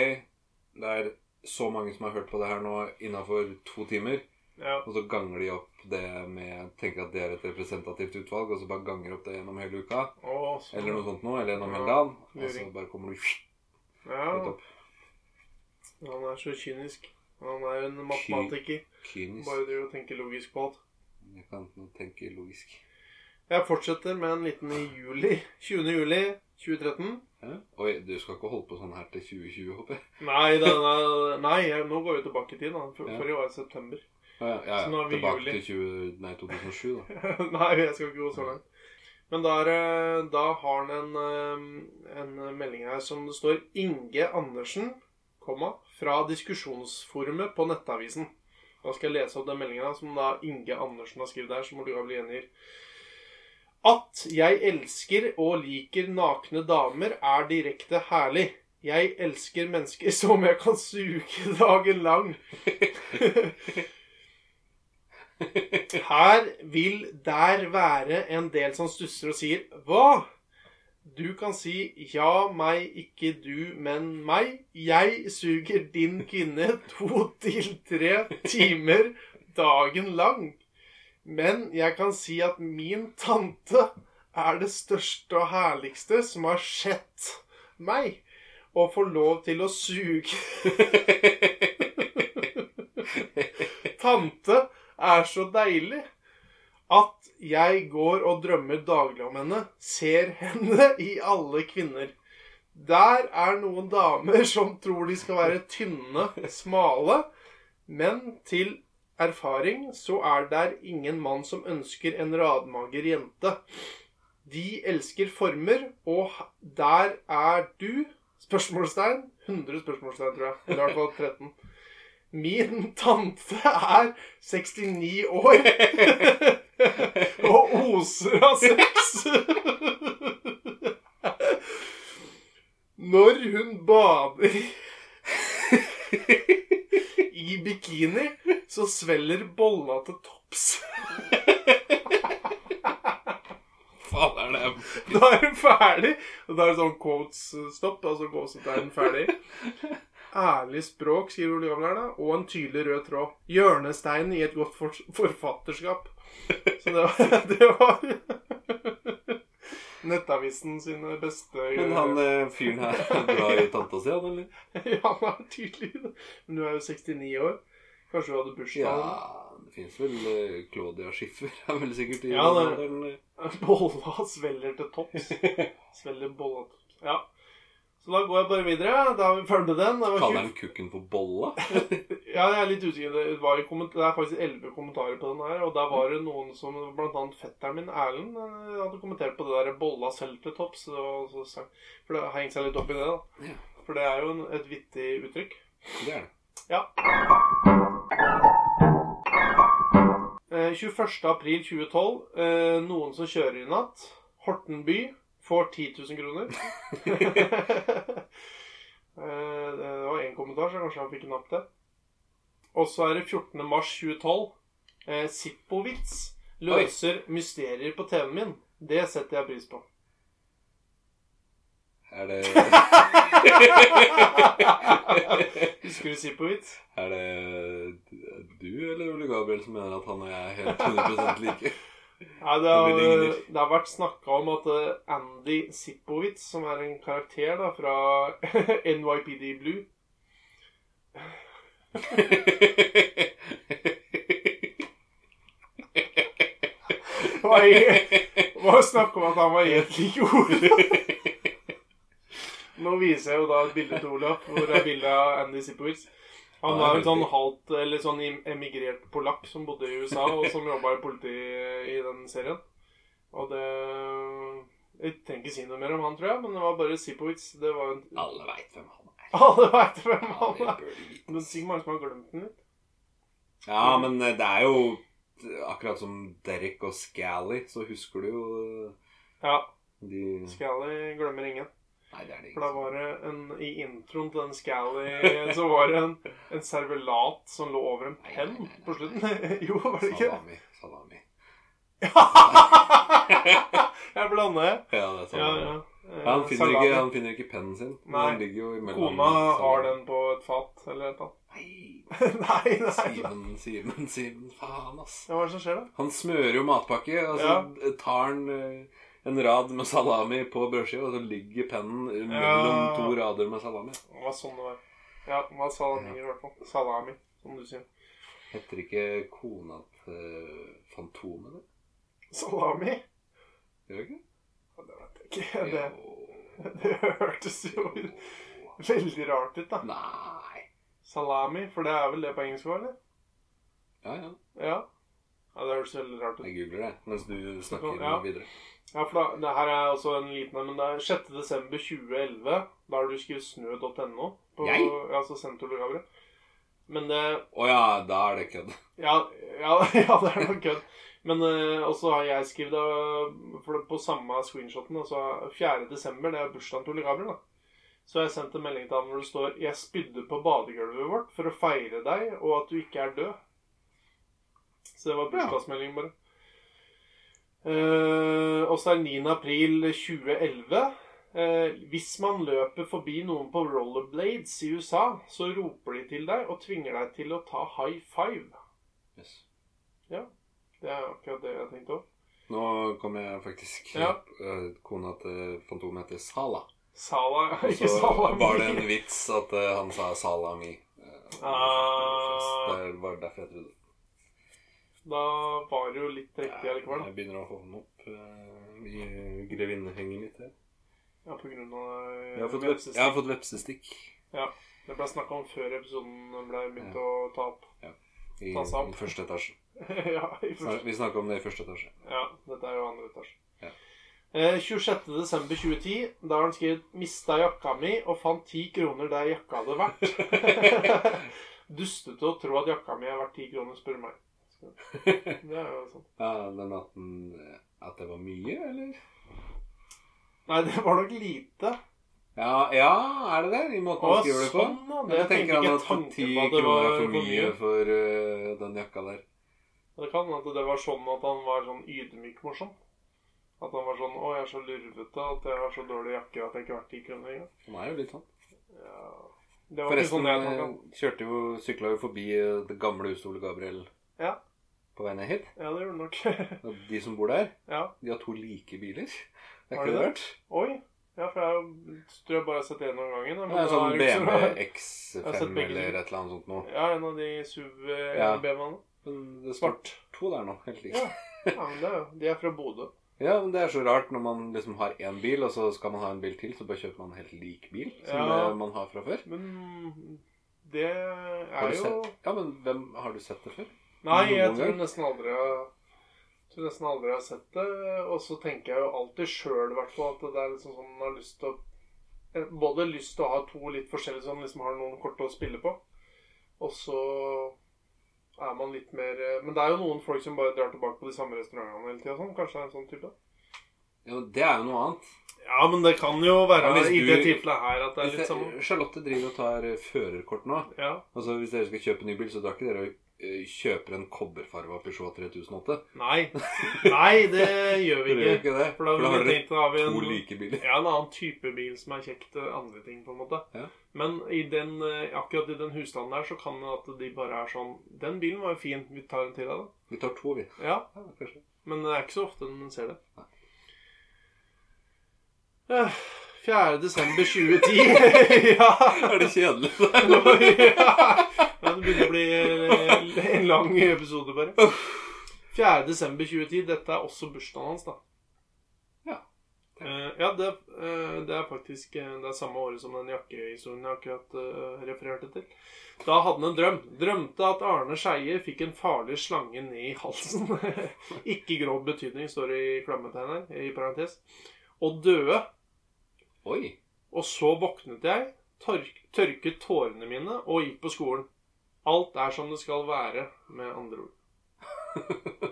det er så mange som har hørt på det her nå innafor to timer.
Ja.
Og så ganger de opp det med Tenker at det er et representativt utvalg, og så bare ganger opp det gjennom hele uka.
Å, så-
Eller noe sånt nå, eller gjennom
Ja,
hele dagen. Og så
luring.
bare kommer du høyt
Ja,
opp.
han er så kynisk. Han er en matematiker.
Kynisk.
Bare driver og tenker logisk på alt.
Jeg kan tenke logisk.
Jeg fortsetter med en liten i juli. 20. juli 2013?
Ja. Oi, du skal ikke holde på sånn her til 2020, håper jeg.
Nei, da, da, nei jeg, nå går vi tilbake i tid. da. For,
Ja.
Forrige var i september.
Ja, ja, ja.
Så nå er vi i
Tilbake
juli.
til 20, nei, 2007, da.
nei, jeg skal ikke gå så langt. Men da, er, det- da har han en, eh, en melding her som det står Inge Andersen, komma, fra diskusjonsforumet på Nettavisen. Da skal jeg lese opp den meldingen her, som da Inge Andersen har skrevet der, som angivelig gjengir. At jeg elsker og liker nakne damer er direkte herlig. Jeg elsker mennesker som jeg kan suge dagen lang. Her vil der være en del som stusser og sier Hva? Du kan si ja, meg, ikke du, men meg. Jeg suger din kvinne to til tre timer dagen lang. Men jeg kan si at min tante er det største og herligste som har sett meg. Og får lov til å suge Tante er så deilig at jeg går og drømmer daglig om henne, ser henne i alle kvinner. Der er noen damer som tror de skal være tynne, smale, men til erfaring så er der ingen mann som ønsker en radmager jente. De elsker former, og h- der er du Spørsmålstegn. 100 spørsmålstegn, tror jeg. Eller i hvert fall 13. Min tante er 69 år og oser av sex. Når hun bader i bikini, så svelger bolla til topps.
Faen, er det
Da er hun ferdig. Og da er det sånn quotes-stopp. Altså gåsetegn ferdig. Ærlig språk, skriver Ole Gamle her, da. Og en tydelig rød tråd. Hjørnesteinen i et godt for forfatterskap. Så det var, det var Nettavisen sine beste
Men han eh, fyren her er glad i tanta si, han, eller?
Ja, han er tydelig det. Men du er jo 69 år. Kanskje du hadde bursdag?
Ja, det fins vel eh, Claudia Schiffer er vel sikkert i
Ja,
den
det-
alderen, eh.
Bolla svelger til topps. Svelger bolla til topps. Ja. Så da går jeg bare videre. Da har vi ferdig med den. Det var
Kaller han kukken for bolla?
Ja, jeg er litt usikker. Det, var jo komment- det er faktisk elleve kommentarer på den her. Og der var det noen som Blant annet fetteren min, Erlend, eh, hadde kommentert på det der 'bolla selv til topps'. og så sa- For det har hengt seg litt opp i det, da.
Ja.
For det er jo en, et vittig uttrykk.
Det er det.
Ja. Eh, 21. april 2012. Eh, noen som kjører i natt. Hortenby får 10 000 kroner. eh, det var én kommentar, så kanskje han fikk napp det. Og så er det 14. mars 2012. Eh, Zippowitz løser mysterier på TV-en min. Det setter jeg pris på.
Er det,
Husker du Zippowitz?
er det du eller Ole Gabriel som mener at han og jeg er helt 100 like?
Nei, det,
Det
har,
blir ligner.
det har vært snakka om at eh, Andy Zippowitz, som er en karakter da, fra NYPD Blue var, var snakk om at han var helt lik Olav. Nå viser jeg jo da et bilde til Olav, hvor er bildet av Andy Zippowitz. Han
Ja,
var
det
en
er
sånn
riktig.
halvt, eller sånn im- emigrert polakk som bodde i USA, og som jobba i politiet i den serien. Og det Jeg trenger ikke si noe mer om han, tror jeg, men det var bare Zippowitz. Det var en
Alle veit hvem han er.
Alle veit hvem han
Alle
er.
burde vite.
Men sikkert mange som har glemt den litt.
Ja,
Mm.
men eh, det er jo eh, akkurat som Derek og Scally, så husker du jo eh,
Ja,
de
Scally glemmer ingen.
Nei, det er det
For da
ikke.
var det en, I introen til den Scally så var det en, en servelat som lå over en penn på slutten. Jo, var det ikke?
Salami. Salami.
Jeg blander.
Ja, det er
Ja, Eh,
salami.
ja.
Ja, han, finner ikke, han finner ikke pennen sin. men
Nei.
Den ligger jo imellom.
Kona har den på et fat eller et eller
Nei,
annet. Nei, nei.
Simen, Simen, Simen. Faen, ass.
Ja, hva er det som skjer, da?
Han smører jo matpakke, og så tar han eh, en rad med salami på brødskiva, og så ligger pennen mellom
Ja.
to rader med salami.
Det var sånn det var. Ja, det var salamier i hvert fall. Salami, som du sier.
Heter ikke kona til Fantomet det?
Salami?
Gjør det ikke?
Ja, Det vet jeg ikke. Det.
Jo.
Det hørtes jo veldig rart ut, da.
Nei.
Salami, for det er vel det på engelsk òg, eller?
Ja, ja.
Ja. ja. Det hørtes veldig rart ut.
Jeg googler det mens du snakker
Ja.
videre.
Ja, for da, det her er altså en liten en, men det er 6. desember 2011. Da har du skrevet snø.no. på-
Jeg?
Ja, så sendte du gaver. Men det
Å ja, da er det kødd.
Ja, ja, ja det er nok kødd. Men eh, også har jeg skrevet eh, for det, på samme screenshoten. Altså 4. desember, det er bursdagen til Ole Gabriel. da. Så har jeg sendt en melding til han hvor det står 'Jeg spydde på badegulvet vårt for å feire deg, og at du ikke er død'. Så det var bursdagsmeldingen, bare. Eh, og så er 9. april 2011. Eh, hvis man løper forbi noen på rollerblades i USA, så roper de til deg og tvinger deg til å ta high five.
Yes.
Det er akkurat det jeg tenkte òg.
Nå kom jeg faktisk
Ja.
eh, Kona til Fantomet heter Sala.
Sala
Og
ikke
så
salami.
var det en vits at eh, han sa salami. Eh,
Ah.
Det var derfor jeg trodde det.
Da var det jo litt riktig allikevel. da.
Jeg begynner å få den opp eh, i grevinnehenget mitt her.
Ja, på grunn av
Jeg har fått, veps-
vepsestikk.
jeg har fått vepsestikk
Det ble snakka om før episoden ble begynt å ta opp.
i,
Ta seg opp.
i første etasje.
ja, i første.
Snak- Vi snakka om det i første etasje.
ja, dette er jo andre etasje.
Ja.
Eh, 26.12.2010. Da har han skrevet 'Mista jakka mi og fant ti kroner der jakka hadde vært'. Dustete å tro at jakka mi er verdt ti kroner, spør du meg. Så, Det er jo sånn.
Ja, den natten eh, At det var mye, eller?
Nei, det var nok lite.
Ja, ja er det det? I måten han skriver det på?
da.
Eller tenker han at
tanken
10
på at det
kroner
var
er for mye for eh, den jakka der?
Det kan hende at det var sånn at han var sånn ydmyk morsom. At han var sånn 'Å, jeg er så lurvete at jeg har så dårlig jakke at jeg ikke har vært ti kroner engang'.
Han er jo litt sånn.
Ja. Det var ikke
Forresten
sånn jeg tenkte.
eh, kjørte jo, sykla jo forbi eh, det gamle huset Ole Gabriel
Ja.
på vei ned hit.
Ja, det gjorde han nok.
Og de som bor der,
ja.
de har to like biler. Det er
Har
ikke det
de det?
rart?
Oi. Ja, for jeg har jo- tror jeg bare har sett det noen ganger. da, men
Det er
da
sånn
det ikke
BMW
så rart. Jeg har
X5
sett begge
eller et
biler.
eller annet sånt noe.
Ja, en av de SUV
Ja.
BMW-ene.
Men det står
Svart.
to der nå, helt likt.
Ja. Ja, men det er jo De er fra Bodø.
Ja, men det er så rart når man liksom har én bil, og så skal man ha en bil til, så bare kjøper man en helt lik bil som
Ja.
det man har fra før.
Men det
Har
er
du
jo
sett? Ja, men hvem har du sett det før?
Nei, jeg
Noen
tror
gang?
nesten aldri jeg tror nesten aldri jeg har sett det. Og så tenker jeg jo alltid sjøl i hvert fall at det er liksom sånn man har lyst til å eh, Både lyst til å ha to litt forskjellige som liksom har noen kort å spille på. Og så er man litt mer eh, Men det er jo noen folk som bare drar tilbake på de samme restaurantene hele tida. Sånn. Kanskje det er en sånn type.
Ja, men Det er jo noe annet.
Ja, men det kan jo være
Ja, hvis
i det
du-
tilfellet her at det er
Hvis
litt sånn-
det-
samme.
Charlotte driver og tar eh, førerkort nå.
Ja.
Altså, Hvis dere skal kjøpe ny bil, så drar ikke dere og eh, kjøper en kobberfarga Peugeot 3008.
Nei. Nei, det gjør vi
Dere gjør
ikke.
ikke det.
For da,
har dere
tenkt, da har vi en
to like biler.
Ja, en annen type bil som er kjekt. eh, Andre ting, på en måte.
Ja.
Men i den, eh, akkurat i den husstanden der, så kan det at de bare er sånn Den bilen var jo fin. Vi tar en til deg, da.
Vi tar to, vi.
Ja,
Ja, kanskje.
Men det er ikke så ofte den ser det.
Nei.
Eh, 4. desember 2010. ja.
Er det kjedelig? det?
Oi, ja. Ja, Det begynner å bli eh, en lang episode, bare. 4. desember 2010. Dette er også bursdagen hans, da.
Ja.
Eh, ja, det, eh, det er faktisk eh, det er samme året som den jakkehistorien jeg akkurat eh, refererte til. Da hadde han en drøm. Drømte at Arne Skeie fikk en farlig slange ned i halsen. Ikke grov betydning, står det i klammetegn her, i parentes. Og døde.
Oi.
Og så våknet jeg, tørk, tørket tårene mine og gikk på skolen. Alt er som det skal være, med andre ord.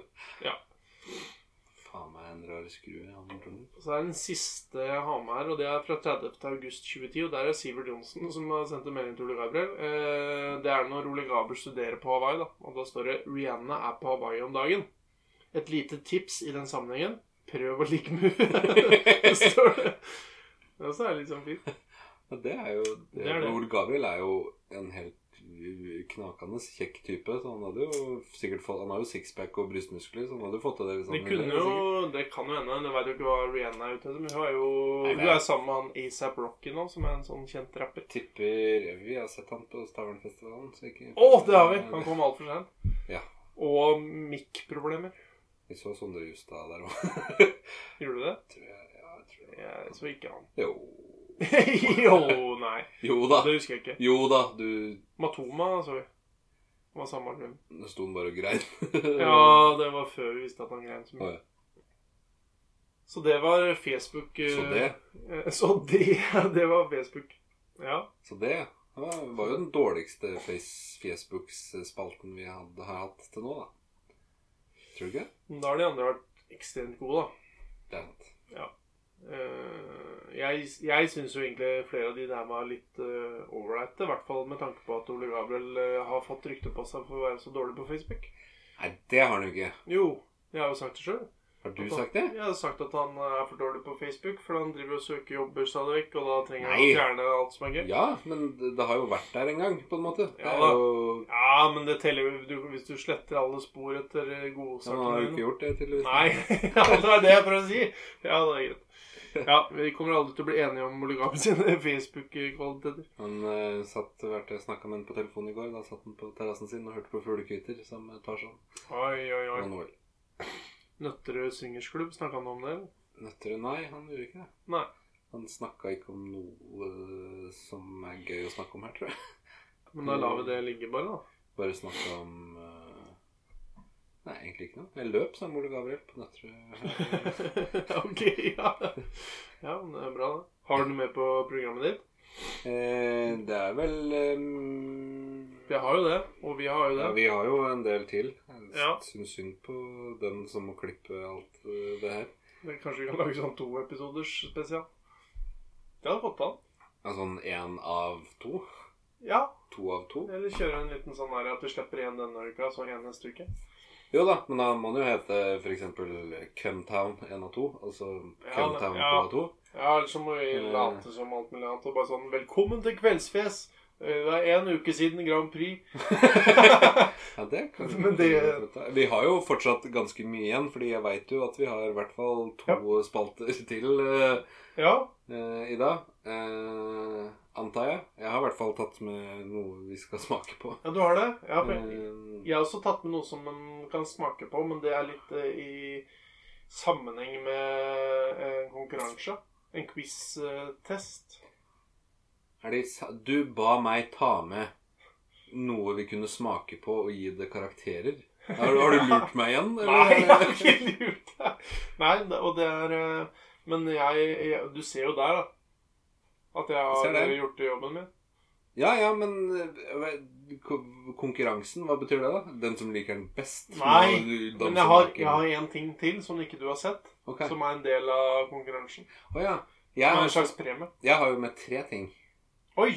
Faen meg en rar skrue. han tror jeg.
Så er det den siste jeg har med her, og det er fra 30. august 2010. Og der er Sivert Johnsen som har sendt en melding til Ole Gabriel. Eh, det er når Ole Gabriel studerer på Hawaii, da. Og da står det 'Rihanna er på Hawaii om dagen'. Et lite tips i den sammenhengen prøv å ligge med henne. står det. Det også er litt sånn fint.
Ja, det er jo det,
Det er det.
Ole Gabriel er jo en helt uh, knakende kjekk type. Så han hadde jo sikkert fått Han har jo sixpack og brystmuskler, så han hadde jo fått til det. liksom. hvis
Det
han ville,
kunne
sikkert.
jo Det kan jo hende. Jeg vet jo ikke hva Rihanna er ute etter, men hun er jo
Nei,
Hun
det er-
er sammen med han ASAP Rocky nå, som er en sånn kjent rapper.
Tipper Vi har sett han på Stavernfestivalen. så ikke-
Å, det har vi! Han kom altfor sent.
Ja.
Og mic-problemer.
Vi så Sondre Justad der òg.
Gjorde du det?
tror jeg, ja, jeg tror det
Jeg så ikke han.
Jo.
jo, nei.
Jo da.
Det husker jeg ikke.
Jo da, du
Matoma så vi. Det var samme grunn.
Det sto bare og grein.
Ja, det var før vi visste at han grein
Å,
så mye.
ja.
Så det var Facebook eh,
Så det
eh, Så det, det var Facebook. Ja.
Så det ja, var jo den dårligste face- Facebook-spalten vi hadde, har hatt til nå, da. Tror du ikke?
Men da har de andre vært ekstremt gode, da.
Det er sant.
Eh, jeg jeg syns jo egentlig flere av de der var litt uh, ålreite. I hvert fall med tanke på at Ole Gabriel eh, har fått rykte på seg for å være så dårlig på Facebook.
Nei, det har han jo ikke.
Jo, jeg har jo sagt det sjøl.
Har du sagt det?
Jeg har sagt at han eh, er for dårlig på Facebook, for han driver og søker jobber stadig vekk, og da trenger han
Nei.
å fjerne alt som er gøy.
Ja, men det, det har jo vært der en gang, på en måte. Det
Ja
er
da.
jo
Ja, men det teller jo du, hvis du sletter alle spor etter
Han
eh,
har jo
godsakene
ikke
dine.
gjort det, tydeligvis.
Nei, ja, det er det jeg prøver å si. Ja, det er greit. Ja, Vi kommer aldri til å bli enige om Moligami sine Facebook-kvaliteter.
Han eh, satt vært og snakka med en på telefonen i går. Da satt han på terrassen sin og hørte på fuglekvitter som tar sånn.
Oi, oi, oi.
Manuel.
Nøtterøy Syngersklubb, snakka han om det? eller?
Nøtterøy? Nei, han gjorde ikke det.
Nei.
Han snakka ikke om noe eh, som er gøy å snakke om her, tror jeg.
Men da
Mm.
lar vi det ligge, bare, da.
Bare snakka om eh, Nei, egentlig ikke noe. Jeg løp sammen med Ole Gabriel på Nøtterøy.
ok, ja. Ja, men det er bra, det. Har du noe med på programmet ditt?
Eh, det er vel eh,
Vi har jo det, og vi har jo det.
ja, Vi har jo en del til. Jeg
Ja.
syns synd på den som må klippe alt eh, det her.
Men Kanskje vi kan lage sånn to episoders spesial. Det hadde fått an.
Ja, Sånn én av to.
Ja,
To av to.
eller kjøre en liten sånn her at du slipper igjen denne uka, så igjen neste uke.
Jo da, men da må den jo hete f.eks. Cumtown 1 av 2. Altså
Ja,
Cumtown 2
ja.
av 2.
Ja, ellers så må vi
Eh.
late som alt mulig annet og bare sånn Velkommen til kveldsfjes! Eh, Det er én uke siden Grand Prix.
Ja, det kan vi
Men det-
kanskje- Vi har jo fortsatt ganske mye igjen, fordi jeg veit jo at vi har i hvert fall to spalter til eh,
Ja,
eh, i dag. Eh, antar jeg. Jeg har i hvert fall tatt med noe vi skal smake på.
ja du har det? Ja, for jeg,
Eh,
jeg har også tatt med noe som man kan smake på, men det er litt eh, i sammenheng med en konkurranse. En quiz-test.
er de, sa- du ba meg ta med noe vi kunne smake på og gi det karakterer. Har, har du lurt meg igjen?
Nei, jeg har ikke lurt deg. Nei, det- og det er eh, Men jeg, jeg Du ser jo der, da. At jeg
Jeg ser
har
det.
gjort jobben min.
Ja, ja, men eh, hva- ko- konkurransen, hva betyr det da? Den som liker den best?
Nei,
Må- den
Men jeg
som
har,
liker-
jeg har en ting til som ikke du har sett,
Ok,
som er en del av konkurransen.
Å, ja. altså-
Det
Jeg
er
har,
en slags premie.
jeg har jo med tre ting.
Oi!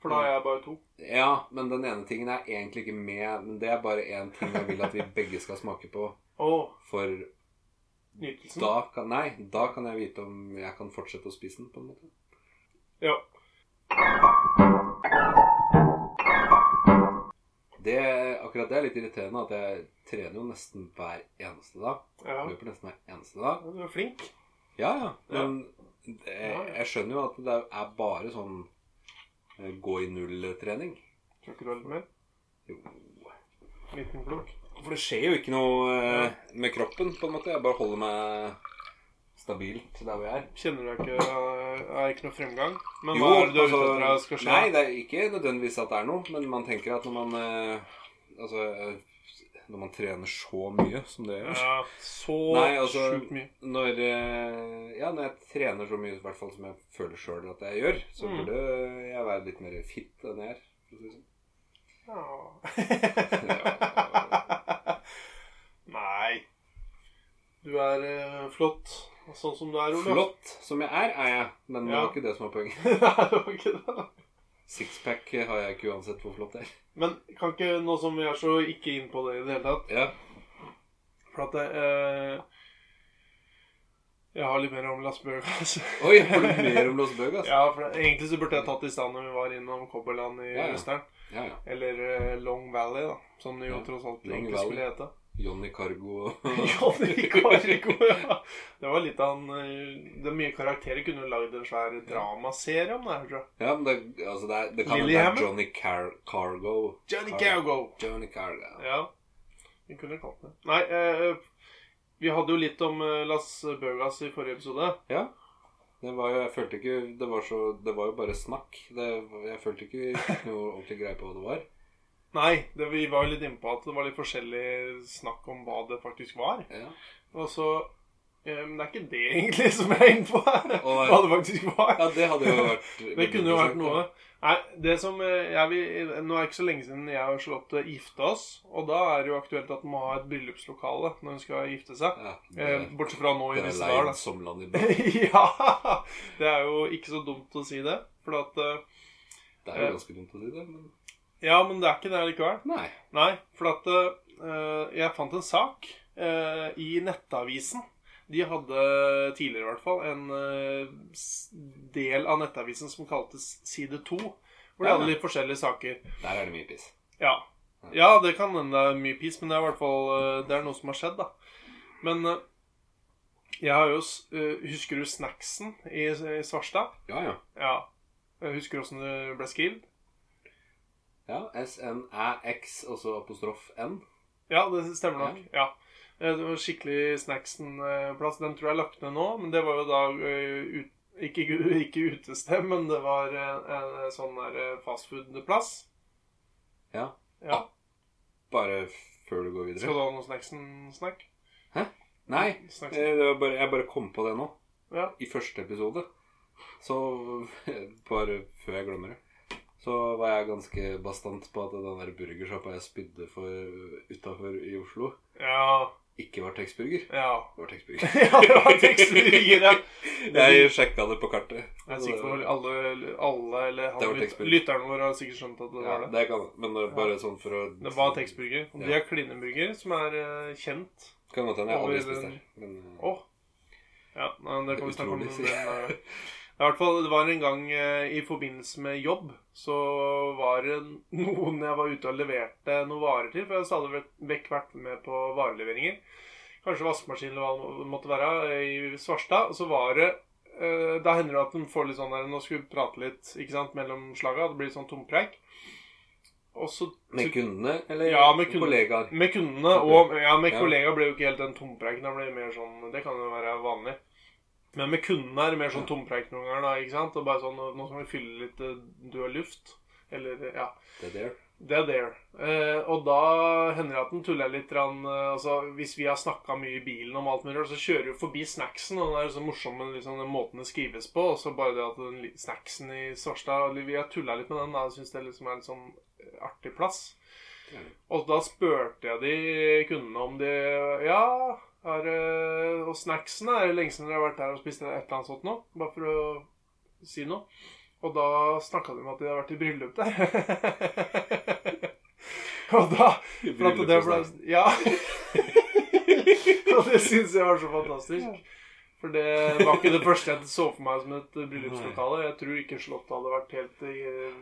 For da er jeg bare to.
Ja, men den ene tingen er egentlig ikke med, men det er bare en ting jeg vil at vi begge skal smake på.
Å,
For
nytelsen.
da kan, nei, da kan jeg vite om jeg kan fortsette å spise den, på en måte.
Ja.
Det, akkurat det er litt irriterende at jeg trener jo nesten hver eneste dag.
ja.
Løper nesten hver eneste dag.
Du er flink.
Ja, ja.
Ja.
Men det,
Ja, ja.
jeg skjønner jo at det er bare sånn eh, gå i null-trening.
Tror ikke du har litt mer.
Jo.
Liten klok.
For det skjer jo ikke noe eh, med kroppen, på en måte. Jeg bare holder meg stabilt der hvor jeg er.
Kjenner du deg ikke eh, Er ikke noe fremgang?
Jo,
Men hva er det du er ute
altså,
etter at skal skje?
Nei, det er ikke nødvendigvis at det er noe, men man tenker at når man eh, Altså eh, når man trener så mye som det gjør
Ja, så
Nei, altså-
sjukt mye.
Når, eh, ja, når jeg trener så mye i hvert fall som jeg føler sjøl at jeg gjør, så
Mm.
burde jeg være litt mer fit enn jeg er. for å si det sånn.
Ja. Nei. Du er eh, flott sånn som du er, Olav.
Flott som jeg er, er jeg, men det
Ja.
var ikke det som var poenget.
Nei, det var ikke det.
Sixpack har jeg ikke uansett hvor flott det er.
Men kan ikke nå som vi er så ikke inn på det i det hele tatt
Ja.
For at jeg, eh, jeg har litt mer om Las Vegas.
Oi, har du mer om Los Bøg, altså?
ja, for egentlig så burde jeg tatt i stand når vi var innom Cobberland i
Ja, ja.
Østern.
Ja, ja.
Eller eh, Long Valley, da. Som det jo
Ja,
tross alt
Long
egentlig
Valley.
skulle hete.
Johnny Cargo og
Johnny Cargo, ja. Det var litt av en eh, Det er mye karakterer. Kunne jo lagd en svær dramaserie om det her, tror jeg.
Ja, men det, altså det, er, det kan
Lily
være
Hammer?
Johnny Car Cargo.
Johnny
Car-
Cargo.
Johnny Cargo.
Ja. Vi kunne kalt det Nei, eh, vi hadde jo litt om eh, Las Bøgas i forrige episode.
Ja. Det var jo, jeg følte ikke Det var, så, det var jo bare snakk. Det, jeg følte ikke vi fikk noe ordentlig greie på hva det var.
Nei, det, vi var jo litt inne på at det var litt forskjellig snakk om hva det faktisk var.
Ja.
Og så eh, Men det er ikke det egentlig som jeg er inne på her.
Og-
Hva det faktisk var.
ja, det hadde jo vært
Det
veldig
kunne jo vært
interessant,
noe.
da.
Nei, det som eh, jeg vil, Nå er det ikke så lenge siden jeg og Charlotte gifta oss. Og da er det jo aktuelt at man må ha et bryllupslokale når hun skal gifte seg.
Ja,
Eh,
det,
Bortsett fra nå i
det er
disse dager,
leid
da.
som land i bø.
ja! Det er jo ikke så dumt å si det. For at eh,
Det er jo ganske dumt å si det, men
Ja, men det er ikke det likevel.
nei.
Nei, for at eh, jeg fant en sak eh, i Nettavisen. De hadde tidligere i hvert fall en eh, s- del av Nettavisen som kaltes Side 2. Hvor de
Ja.
hadde litt forskjellige saker.
Der er det mye piss.
Ja. ja, det kan hende det er mye piss, men det er i hvert fall eh, Det er noe som har skjedd, da. Men eh, jeg har jo s- eh, Husker du snacksen i, i Svarstad?
Ja, ja.
Ja. Jeg Husker du åssen det ble skrevet?
Ja, SNÆX, og så apostrof N.
Ja, det stemmer nok. Ja. Eh, Det var skikkelig snacksen-plass. Den tror jeg er lagt ned nå, men det var jo da eh, ut, ikke, ikke utested, men det var eh, en sånn der eh, fastfood-plass.
Ja.
Ja.
Bare før du går
Skal
videre.
du ha noe snacksen-snack?
Nei, eh,
Snacksen.
det var bare, jeg bare kom på det nå.
Ja.
I første episode. Så bare før jeg glemmer det. Så var jeg ganske bastant på at den der burgersjappa jeg spydde for utafor i Oslo,
Ja.
ikke var Texburger.
ja.
Det var Texburger.
ja, det var tekstburger, ja.
Jeg sjekka det på kartet.
Jeg er sikker på at alle, alle eller
Det var
han, lyt,
tekstburger.
lytteren vår har sikkert skjønt at det
Ja,
var det.
det kan Men det er bare sånn for å
Det var tekstburger. Og de
Ja.
har Klinneburger, som er eh, kjent.
Kan godt hende jeg aldri
Over
spiste
den-
der. Men eh,
Åh. Ja, nei, men det kan vi snakke om.
Utrolig,
Men,
sier
eh, i hvert fall, det var en gang eh, i forbindelse med jobb, så var det noen jeg var ute og leverte noen varer til, for jeg har stadig vært- vekk vært med på vareleveringer. Kanskje vaskemaskin eller hva det måtte være, eh, i Svarstad. Og så var det eh, Da hender det at de får litt sånn der Nå skal vi prate litt ikke sant, mellom slaga. Det blir litt sånn tompreik. Og så
eh, Med kundene eller
Ja, med Mm. kundene.
kollegaer?
med kundene og ja, med
Ja.
kollegaer ble jo ikke helt den tompreiken. Det ble mer sånn, det kan jo være vanlig. Men med kundene er det mer sånn tompreik noen ganger. da, ikke sant? Og bare sånn, Nå skal vi fylle litt eh, død luft. Eller ja.
Det der.
Det er there. Eh, og da hender det at den tuller litt. grann, eh, altså, hvis vi har snakka mye i bilen om alt mulig, rart, så kjører vi forbi snacksen. Og den er så morsom med liksom, den måten det skrives på. Og så bare det at den li- snacksen i Svarstad eller Vi har tulla litt med den. da, Jeg syns det liksom er litt sånn eh, artig plass.
Det er det.
Og da spurte jeg de kundene om de Ja, er, det- og snacksen er det lenge siden dere har vært der og spist et eller annet sånt nå? Bare for å si noe. Og da snakka de om at de hadde vært i bryllup der. og da for at det ble, ja. og det syns jeg var så fantastisk. For det var ikke det første jeg så for meg som et bryllupslokale. Jeg tror ikke Slottet hadde vært helt eh,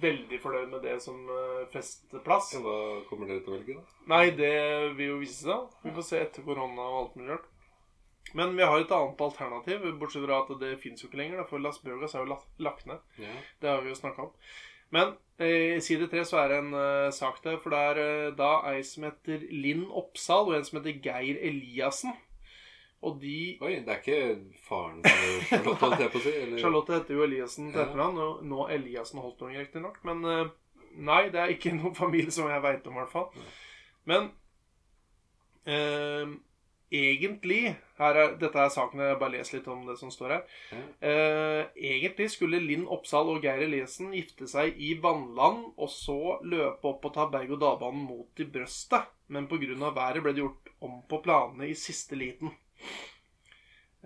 veldig fornøyd med det som eh, festplass.
Så Hva kommer dere til å velge, da?
Nei, det vil jo vise seg. Vi får se etter korona og alt mulig rart. Men vi har et annet alternativ, bortsett fra at det fins jo ikke lenger. da, For Las Bøgas er jo la- lagt ned.
Ja.
Det har vi jo snakka om. Men eh, i side tre så er det en eh, sak der, for det er eh, da ei som heter Linn Oppsal, og en som heter Geir Eliassen. Og de
Oi, det er ikke faren til Charlotte, holdt jeg på å si? Eller?
Charlotte heter jo Eliassen til
Ja.
etternavn, og nå Eliassen Holtung, riktignok. Men eh, nei, det er ikke noen familie som jeg veit om, i hvert fall. Men eh, egentlig her er, Dette er saken jeg bare leser litt om det som står her.
Ja.
Eh, egentlig skulle Linn Oppsal og Geir Eliassen gifte seg i vannland, og så løpe opp og ta berg-og-dal-banen mot i brøstet. Men pga. været ble det gjort om på planene i siste liten.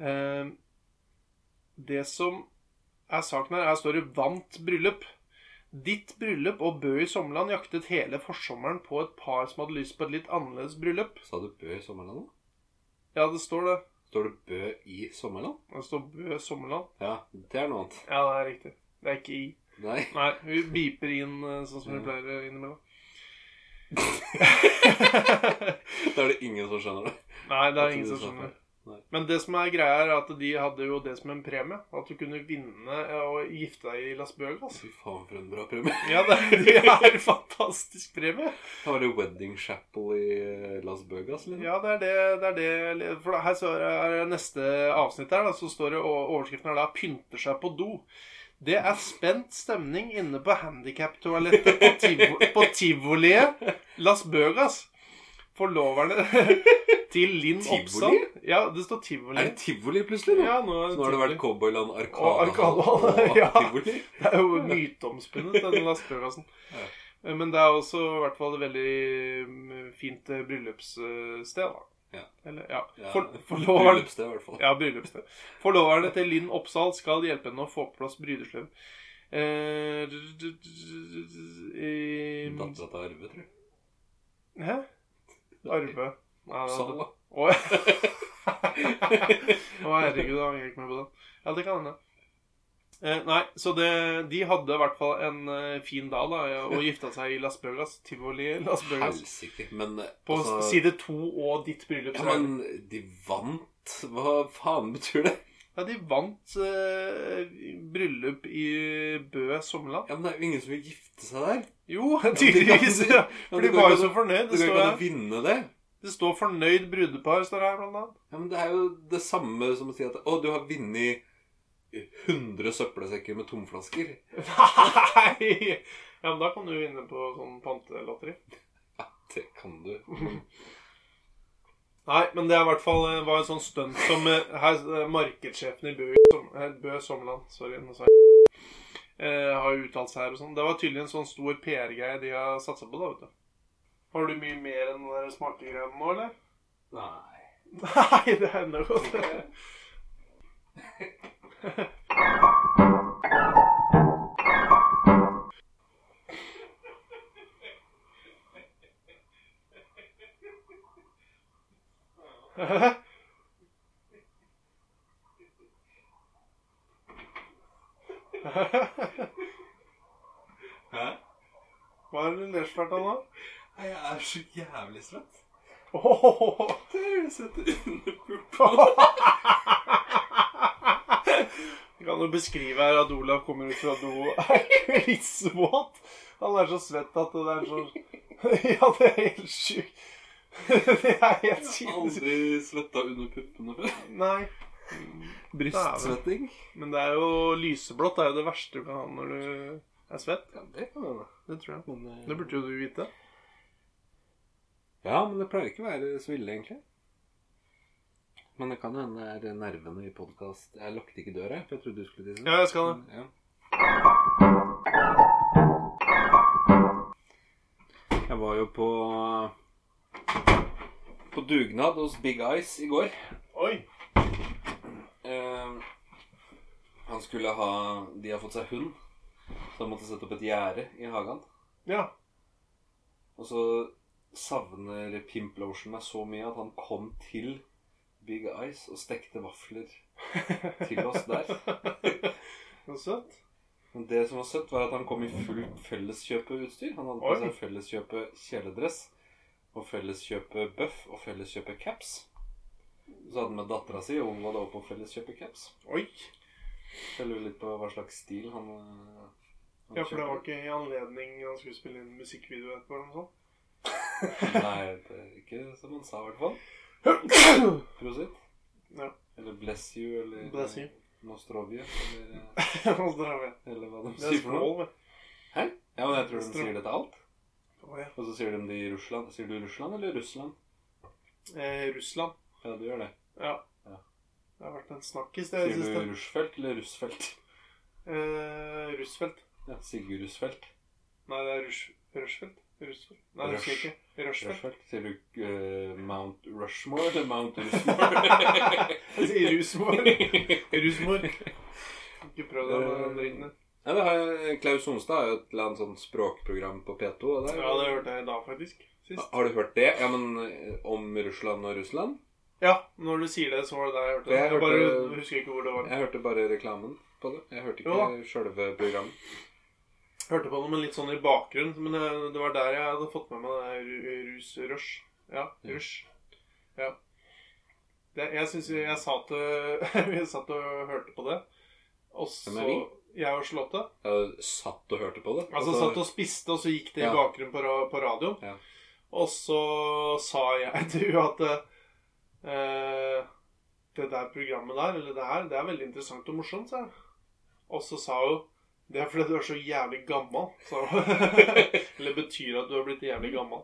Eh, det som er saken her, er står det 'vant bryllup'. Ditt bryllup og Bø i Sommerland jaktet hele forsommeren på et par som hadde lyst på et litt annerledes bryllup.
Sa du Bø i Sommerland nå?
Ja, det står det.
Står det Bø i Sommerland?
Det står Bø i Sommerland.
Ja, det er noe annet.
Ja, det er riktig. Det er ikke i.
Nei.
Nei, vi beeper inn eh, sånn som vi
Ja.
pleier eh, innimellom.
Da er det ingen som skjønner det.
Nei, det
Jeg
er ingen
tror
som
du sa
skjønner.
feil. Nei.
Men det som er greia, er at de hadde jo det som en premie. At du kunne vinne eh, og gifte deg i Las Vegas.
Fy faen, for en bra premie.
Ja, det, det er en fantastisk premie.
Har du Wedding Chapel i eh, Las Vegas, eller?
Ja, det er det, det, er det. For da- her så er det neste avsnitt her, da, så står det og overskriften her da 'Pynter seg på do'. Det er spent stemning inne på handikaptoalettet på, tivo, på tivoliet Las Vegas. Forloverne til Linn
Tivoli?
Oppsal Ja, det står tivoli.
Er det tivoli plutselig? nå?
Ja, nå, er
Så nå har det vært
tivoli.
Cowboyland
Og
Arkadehall og,
Arkadehall, ja.
tivoli.
Det er jo myteomspunnet, den Las Vegasen.
Ja.
Men det er også i hvert fall et veldig mm, fint eh, bryllupssted, da.
Ja.
Eller, ja.
Ja,
For, forloveren,
Bryllupssted, i hvert fall.
ja, bryllupssted. Forloverne til Linn Oppsal skal hjelpe henne å få på plass brydesløv. Eh, d- d- d- d- i-
Dattera til Arve, tror jeg.
Hæ? Arve. Nei,
Oppsal, da.
Å Å, herregud, jeg angrer ikke mer på det. Ja, det kan hende. Eh, nei, så det, de hadde i hvert fall en eh, fin dag da, og gifta seg i Las Vegas. Tivoli i Las Vegas.
Helsike. Men eh,
På
altså,
side to og ditt bryllup.
Ja, men de vant. Hva faen betyr det?
Ja, de vant eh, bryllup i Bø sommerland.
Ja, men det er jo ingen som vil gifte seg der.
Jo, tydeligvis. Ja, for de var jo så fornøyd.
Du
Det
kan
står,
ikke an å
her.
vinne det.
det står 'fornøyd brudepar' står det her, blant annet.
Ja, men Det er jo det samme som å si at Å, du har vunnet 100 søppelsekker med tomflasker.
Nei! Ja, men da kan du vinne på sånn pantelatteri.
Ja, det kan du.
Nei, men det er i hvert fall eh, var en sånn stunt som eh, her, eh, markedssjefen i Bø, som, eh, Bø Sommerland sorry, nå sa jeg, eh, har uttalt seg her og sånn. Det var tydelig en sånn stor PR-greie de har satsa på, da, vet du. Har du mye mer enn den der smarte greia nå, eller?
Nei.
Nei, det er noe godt.
Hæ?
Hva er det du ler svært av nå?
Nei, Jeg er så jævlig svett.
Åhåhåhå.
Det er det setter under
Jeg kan jo beskrive her at Olav kommer ut fra do og er klissvåt. Han er så svett at det er så Ja, det er helt sjukt. Det er helt sinnssykt.
Aldri svetta under puppene før.
Nei.
Brystsvetting.
Men det er jo lyseblått er jo det verste du kan ha når du er svett.
Ja, det kan hende.
Det tror jeg.
Men, eh,
Det burde jo du vite.
Ja, men det pleier ikke å være så ille, egentlig. Men det kan hende det er nervene i podkast Jeg lukket ikke døra, jeg, for jeg trodde du skulle tisse.
Ja, sånn. jeg skal det.
Ja. Jeg var jo på På dugnad hos Big Eyes i går.
Oi.
Eh, han skulle ha De har fått seg hund, så han måtte sette opp et gjerde i hagen.
Ja.
Og så savner Pimp Lotion meg så mye at han kom til Big Eyes og stekte vafler til oss der.
Så søtt.
Men det som var søtt, var at han kom i fullt felleskjøpeutstyr. Han hadde på
Oi.
seg felleskjøpe kjeledress og felleskjøpe buff og felleskjøpe caps. Så hadde han med dattera si, og hun var da også på felleskjøpe caps.
Oi.
Jeg lurer litt på hva slags stil han, eh, han
Ja, for det var
kjøper.
ikke i anledning han skulle spille inn musikkvideo etterpå eller noe
Nei, det er ikke som han sa, i hvert fall.
sånt.
Prosit.
Ja.
Eller bless you, eller eh,
Bless you.
Nostrovje, eller
Og så drar vi.
Eller hva de
Det er
sier for noe.
skål, vel.
Hæ? Ja, men jeg tror de
Strøm.
sier det til alt.
Å, ja.
Og så sier de det i Russland. Sier du Russland eller Russland?
Eh, Russland.
Ja, du gjør det.
Ja.
Ja.
Det har vært en snakkis, det i
Sier
det
du
siste.
Rushfeldt eller Russfeldt?
Eh, Russfeldt.
Ja, Sigurd Russfeldt.
Nei, det er Rush... Rushfeldt? Russfeldt? Nei, det husker jeg ikke. Rushfeldt.
Rushfeldt. Sier du eh, Mount Rushmore eller Mount Rushmore?
Jeg sier Rusmor. Rusmor. Ikke prøv deg med den dritten der.
Ja, det har jeg, Klaus Sonstad har jo et eller annet sånt språkprogram på P2. Og det er,
Ja, det hørte jeg i dag, faktisk. Sist.
Har du hørt det? Ja, men eh, om Russland og Russland?
Ja, når du sier det, så var det der jeg hørte det.
Jeg
Jeg bare
hørte-
husker ikke hvor det var.
Jeg hørte bare reklamen på det. Jeg hørte
Jo
ikke sjølve programmet.
Hørte på det, men litt sånn i bakgrunnen. Men eh, det var der jeg hadde fått med meg det der ru- rus... Rush. Ja,
Ja.
rush. Ja. Det, jeg synes jo- jeg satt, og- jeg satt og hørte på det. Og så
Hvem er vi?
Jeg og Charlotte.
Jeg hadde satt og hørte på det.
Altså satt og spiste, og så gikk
Ja.
det i bakgrunnen på, ra- på radioen.
Ja.
Og så sa jeg til henne at eh, det der programmet der, eller det her, det er veldig interessant og morsomt, sa jeg. Og så sa hun det er fordi du er så jævlig gammel. sa hun. eller betyr at du har blitt jævlig gammel.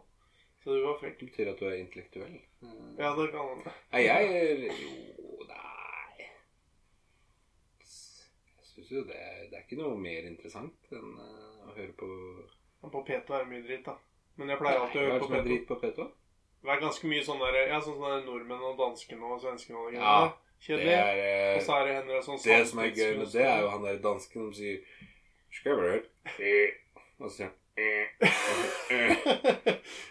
Så du var frekk.
Det betyr at du er intellektuell. Mm.
Ja, det kan han.
Nei, jeg Jo, nei Jeg syns jo det, det er ikke noe mer interessant enn eh, å høre på
Men På P2 er det mye dritt, da. Men jeg pleier alltid å
Hva er
høre
det
på
som er
P2.
drit på P2?
Det er ganske mye sånn der, ja, sånn som det er nordmenn og danskene og svenskene og de greiene.
Ja,
der.
Det
Kjedelig.
er eh,
Og så er det henne sånn
Det som er gøy med
samtidskunst.
det, er jo han der dansken som sier Skal jeg være Og så sier han «Eh».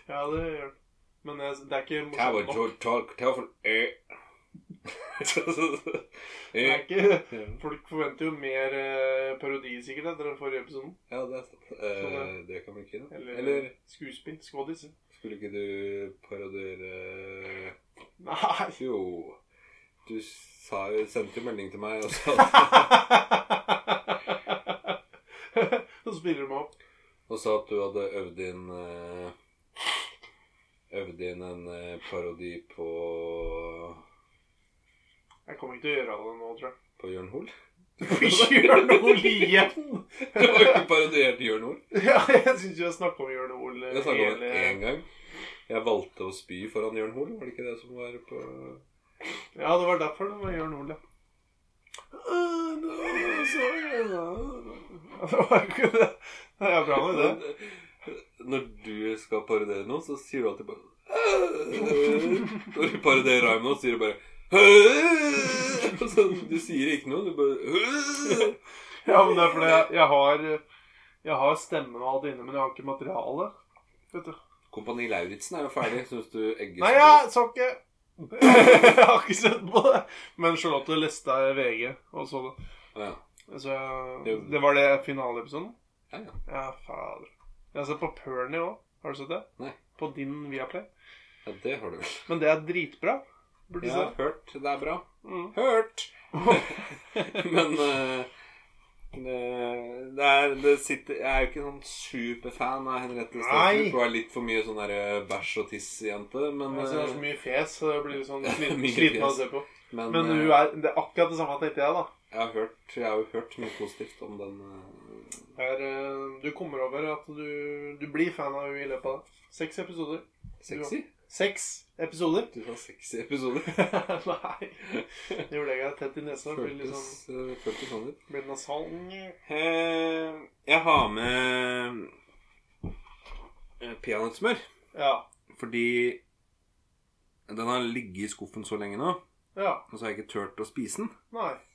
ja, det gjør det. Men jeg, det er ikke
Det var
morsomt nok.
George Talk Telefon «Eh».
Det
«Eh».
er ikke, folk forventer jo mer eh, parodi sikkert etter den forrige episoden.
Ja, det er sant. Eh, det kan man ikke da.
Eller, eh,
Eller
skuespill. Skådis.
skulle ikke du parodiere
Nei!
Jo Du sa jo Sendte jo melding til meg og sa at,
Så spiller du meg opp.
og sa at du hadde øvd inn eh, Øvd inn en eh, parodi på
Jeg kommer ikke til å gjøre det nå, tror jeg.
På Jørn Hoel.
Gjør noe igjen!
Du har jo ikke parodiert Jørn Hoel.
Ja, jeg syns jeg snakka om Jørn Hoel
Jeg snakka om det én gang. Jeg valgte å spy foran Jørn Hoel. Var det ikke det som var på
Ja, det var derfor det var Jørn Hoel, ja. Det var ikke det. Det er bra nok, det.
Når du skal parodiere noe, så sier du alltid bare Når du parodierer Raymond, så sier du bare så Du sier ikke noe, du bare
Ja, men det er fordi jeg, jeg har Jeg har stemmen og alt inne, men jeg har ikke materiale. Vet du.
Kompani Lauritzen er jo ferdig, syns du Egges
Nei, jeg så ikke Jeg har ikke sett på det. Men Charlotte leste VG og så det.
ja.
Så jeg, det var det finaleepisoden?
Ja, ja.
Ja, fader. Jeg har sett på Pernie òg. Har du sett det?
Nei.
På din Viaplay.
ja, det har du vel.
Men det er dritbra. Burde du
Jeg
se.
har hørt. Det er bra.
Mm.
Hørt! Men eh, det, det, er, det sitter Jeg er jo ikke sånn superfan av Henriette
Nei.
Stenstrup. Hun er litt for mye sånn derre bæsj og tiss-jente. Men,
Jeg ser det er så
eh,
mye fes, så jeg blir litt sånn sliten
Mye
sliten av å
fjes.
se på.
men,
Men hun
eh,
er, det er akkurat det samme, tenkte jeg, da.
jeg, har hørt, jeg har jo hørt mye positivt om den eh,
er, eh, du kommer over at du, du blir fan av henne i løpet av det. Seks episoder.
sexy.
Seks episoder?
Du sa sexy episoder.
Nei. Det gjorde jeg ikke. tett i nesa. Blir litt
Føltes,
sånn
eh, føltes sånn ut.
blir nasal.
Eh, jeg har med eh, peanøttsmør.
Ja.
Fordi den har ligget i skuffen så lenge nå,
Ja.
og så har jeg ikke turt å spise den.
Nei.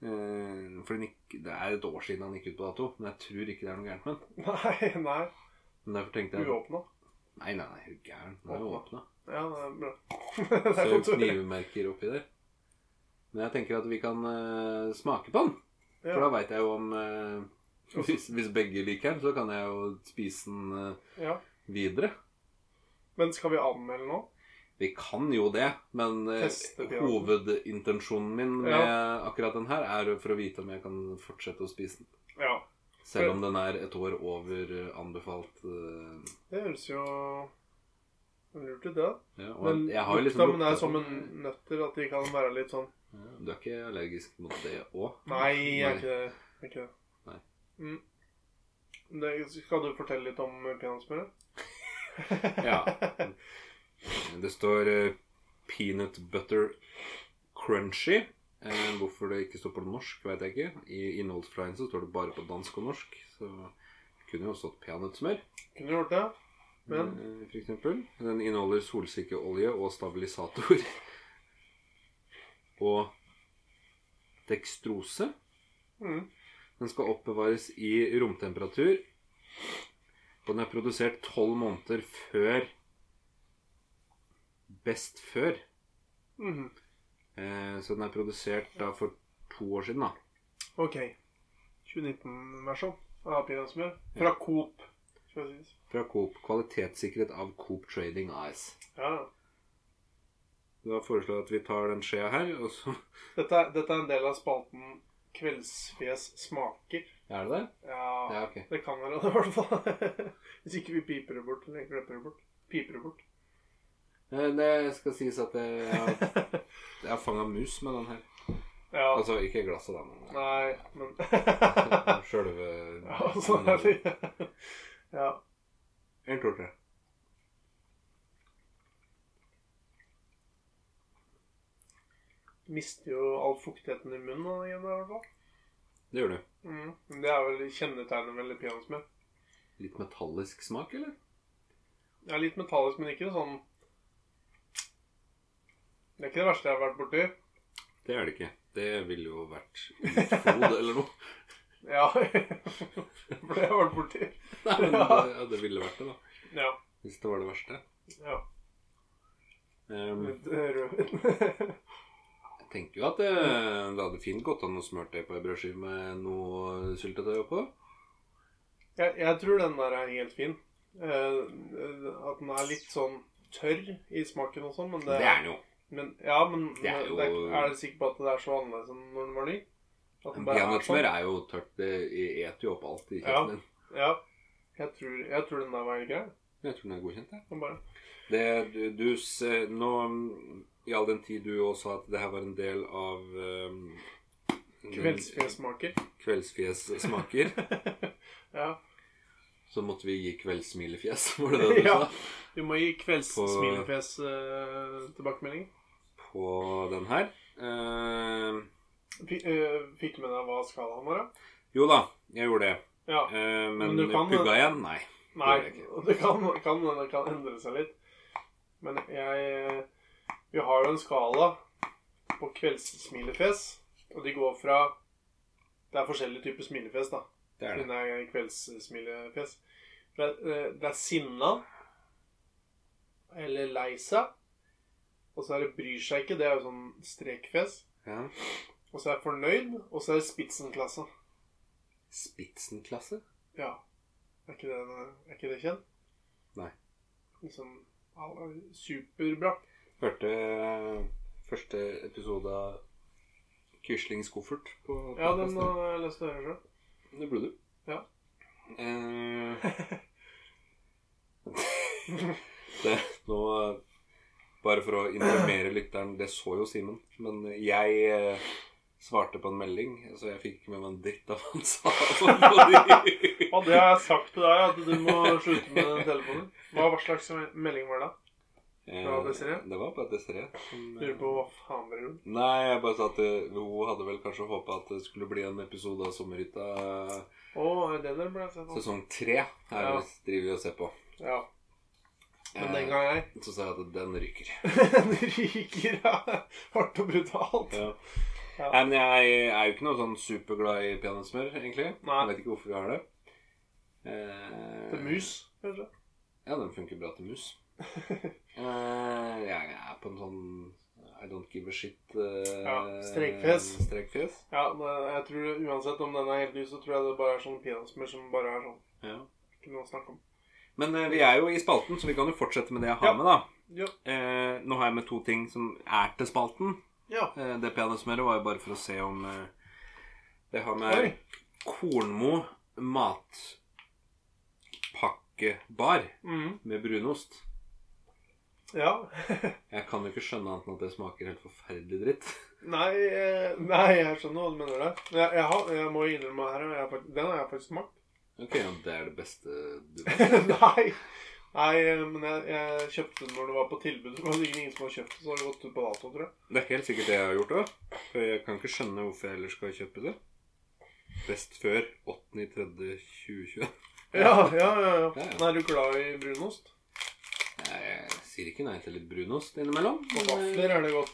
Eh, For den gikk, det er et år siden han gikk ut på dato, men jeg tror ikke det er noe gærent med den.
Nei. nei.
Men derfor tenkte jeg
Uåpna.
Nei, nei, nei, er du gæren. Den er jo åpna.
Ja, det er bra. Det er sånn
Ser
godt å høre.
knivmerker oppi der. Men jeg tenker at vi kan eh, smake på den. For da
Ja.
veit jeg jo om eh, hvis, hvis begge liker den, så kan jeg jo spise den eh,
ja.
videre.
Men skal vi anmelde nå?
Vi kan jo det, men eh,
Teste pianoen.
hovedintensjonen min med akkurat den her er for å vite om jeg kan fortsette å spise den.
Ja.
Selv om den er et år over eh, anbefalt eh,
Det høres jo lurt ut, det.
Ja, og
Men
jeg har jo
lukta,
liksom
men det er
lukta
som
på
en nøtter, at de kan være litt sånn
den. Du er ikke allergisk mot det òg?
Nei, jeg er ikke det. Jeg er ikke det.
Nei.
Mm. det. Skal du fortelle litt om eh, peanøttsmøret?
Ja. Det står eh, peanut butter crunchy. Eh, hvorfor det ikke står på norsk, vet jeg ikke. I innholdsflyen så står det bare på dansk og norsk. Så det kunne jo stått peanøttsmør,
Kunne du gjort det? Men
eh, for eksempel. Den inneholder solsikkeolje og stabilisator. og dekstrose.
mm.
Den skal oppbevares i romtemperatur. Og den er produsert tolv måneder før Best før.
Mhm.
Eh, så den er produsert da for to år siden, da.
OK. 2019-versjon av peanøttsmør. Fra Coop, skal det sies.
Fra Coop. Kvalitetssikret av Coop Trading AS.
Ja.
Da foreslår jeg at vi tar den skjea her, og så
Dette, er- dette er en del av spalten Kveldsfjes smaker.
Er det det?
Ja,
Ja, ok.
det kan være det, i hvert fall. Hvis ikke vi piper det bort. Eller klipper det bort. Piper det bort.
Eh, Det skal sies at jeg har, jeg har fanga mus med den her.
Ja.
Altså ikke glasset, da, men eh,
Nei, men
sjølve
Ja, sånn er det. Ja.
En, to, tre.
Mister jo all fuktigheten i munnen da, igjen, i hvert fall.
Det gjør du.
Mm. Men Det er vel kjennetegnet ved peanøttsmør.
Litt metallisk smak, eller?
Det er litt metallisk, men ikke sånn Det er ikke det verste jeg har vært borti.
Det er det ikke. Det ville jo vært utfod eller noe.
Ja, for det har jeg vært borti.
Nei, men det, ja, det ville vært det, da.
Ja.
Hvis det var det verste.
ja.
Um,
Litt rødvin.
jeg tenker jo at det, det hadde fint gått an å smøre det på ei brødskive med noe syltetøy oppå.
Jeg, jeg tror den der er helt fin. Eh, eh, at den er litt sånn tørr i smaken og sånn, men det,
Det er den jo.
men, Ja, men
Det er
men
jo-
det er, er du sikker på at det er så annerledes enn når den var ny? At den bare er
Peanøttsmør
sånn?
er jo tørt. Det eter jo opp alt i
Ja.
kjeften din.
Ja. Jeg tror, jeg tror den der var helt grei.
Jeg tror den er godkjent, jeg.
Den bare
Det du, du se- Nå mm, I all den tid du også sa at det her var en del av um,
Kveldsfjesmaker.
kveldsfjes-smaker,
ja.
så måtte vi gi kveldssmilefjes, var det det du
Ja.
sa?
Du må gi kveldssmilefjes uh, tilbakemelding.
På den her. Eh,
F eh, fikk du med deg hva skalaen var? da?
jo da, jeg gjorde det.
Ja.
Eh, men
Men du kan-
pugga igjen? Nei.
Nei,
det gjør jeg
det kan, kan, det kan endre seg litt. Men jeg eh, Vi har jo en skala på kveldssmilefjes, og de går fra Det er forskjellige typer smilefjes, da.
Det er
Hun
det.
er kveldssmilefjes. Det, er- eh, det er sinna. Eller lei seg. Og så er det bryr seg ikke. Det er jo sånn strekfjes.
Ja.
Og så er det fornøyd. Og så er det spitsenklasse.
Spitsenklasse?
Ja. Er ikke det, er ikke det kjent?
Nei.
Liksom all- Superbra.
Hørte eh, første episode av Quislings koffert på
Ja, den
podcasten.
har jeg lyst til å høre sjøl.
Det burde du.
Ja.
Eh, det, nå Bare for å informere lytteren, det så jo Simen. Men jeg eh, svarte på en melding, så jeg fikk ikke med meg en dritt av hva han sa. Fordi,
Og det har jeg sagt til deg, at du må slutte med den telefonen. Hva, hva slags melding var det? Fra Desiree?
Eh, det var bare Desiree. som, eh,
Lurer på hva faen blir det?
Nei, jeg bare sa at eh, hun hadde vel kanskje håpa at det skulle bli en episode av Sommerhytta eh,
Å, er det den der ble jeg sett på?
sesong tre. Her
Ja.
driver vi og ser på.
Ja. Men
Eh,
den gang jeg
Så sa jeg at den ryker.
Den ryker av hardt og brutalt.
Ja.
Ja.
Nei, men jeg er jo ikke noe sånn superglad i peanøttsmør, egentlig.
Nei.
Jeg vet ikke hvorfor vi har det.
Til
Eh,
mus, kanskje.
ja, den funker bra til mus. eh, jeg er på en sånn I don't give a shit eh,
Ja, strekfjes.
Strekfjes.
Ja, men jeg tror Uansett om den er helt ny, så tror jeg det bare er sånn peanøttsmør som bare er sånn.
Ja.
Ikke noe å snakke om.
Men eh, vi er jo i spalten, så vi kan jo fortsette med det jeg har
Ja.
med, da.
Ja.
Eh, nå har jeg med to ting som er til spalten.
ja.
Eh, det peanøttsmøret var jo bare for å se om eh, Det har med
Oi.
Kornmo matpakkebar
Mhm.
med brunost.
Ja.
Jeg kan jo ikke skjønne annet enn at det smaker helt forferdelig dritt.
Nei, eh, nei, jeg skjønner hva du mener der. Men Jeg, jeg, har, jeg må innrømme her, og jeg har, fakt- den har jeg faktisk smakt.
Ok, ja, Det er det beste du vet.
nei. Nei, eh, men jeg, jeg kjøpte den når det var på tilbud. Det var sikkert ingen som har kjøpt den, så har det gått ut på dato, tror jeg.
Det er helt sikkert det jeg har gjort òg. For jeg kan ikke skjønne hvorfor jeg ellers skal kjøpe det. Best før 8.3.2020.
Ja, ja, ja. ja.
Ja, ja.
Men Er du glad i brunost?
Jeg sier ikke nei til litt brunost innimellom.
Og
men, eh,
vafler er det godt.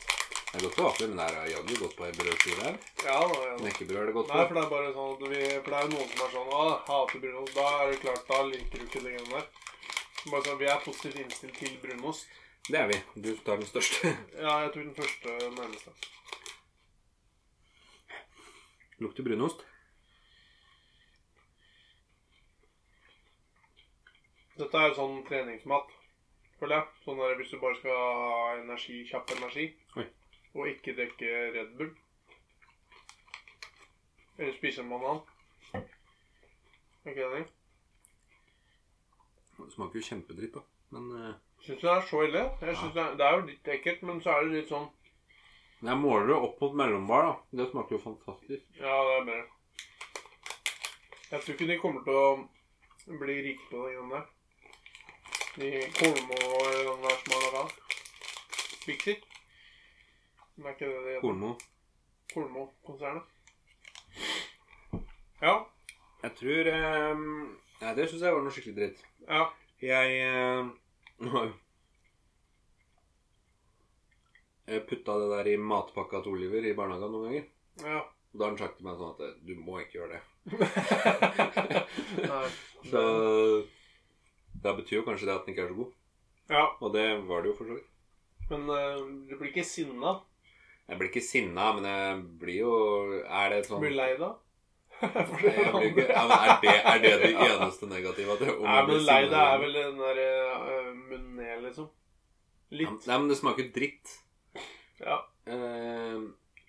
Det er godt på vafler, men det er jaggu godt på ei brødskive her.
Ja, da, ja. da.
Knekkebrød er det godt
Nei, for
på.
det er bare sånn at vi, For det er jo noen som er sånn Å, hater brunost. Da er det klart, da liker du ikke det greiene der. Bare sånn, Vi er positivt innstilt til brunost.
Det er vi. Du tar den største.
Ja, jeg tror den første nærmeste.
Lukter brunost.
Dette er jo sånn treningsmat. føler jeg. Sånn der, hvis du bare skal ha energi, kjapp energi,
Oi.
og ikke drikke Red Bull Eller spise en banan. Er ikke enig?
Det smaker jo kjempedritt, da. Men eh,
Syns du det er så ille? Jeg synes det, er, det er jo litt ekkelt, men så er det litt sånn
jeg måler det opp mot mellombar, da. Det smaker jo fantastisk.
Ja, det er bedre. Jeg tror ikke de kommer til å bli rike på den gjennom der. De Kolmo eller den der som har laga Bixi. Men det er ikke det det heter.
Kornmo.
Kolmo-konsernet. Ja.
Jeg tror eh, Nei, det syns jeg var noe skikkelig dritt.
Ja.
Jeg eh, Jeg putta det der i matpakka til Oliver i barnehagen noen ganger.
Ja.
Og da har han sagt til meg sånn at du må ikke gjøre det.
Nei.
Så det betyr jo kanskje det at den ikke er så god.
Ja.
Og det var det jo for så vidt.
Men eh, du blir ikke sinna?
Jeg blir ikke sinna, men jeg blir jo Er det
Du
sånn
blir lei deg? For
Nei,
det
jeg blir ikke, ja,
andre.
men er, det, er det det eneste negative? At jeg, om
Nei,
jeg blir
men lei
sinna
deg
eller-
er vel den derre uh, munnen ned, liksom.
Ja,
Litt.
Nei, men det smaker dritt.
Ja.
Eh, ja,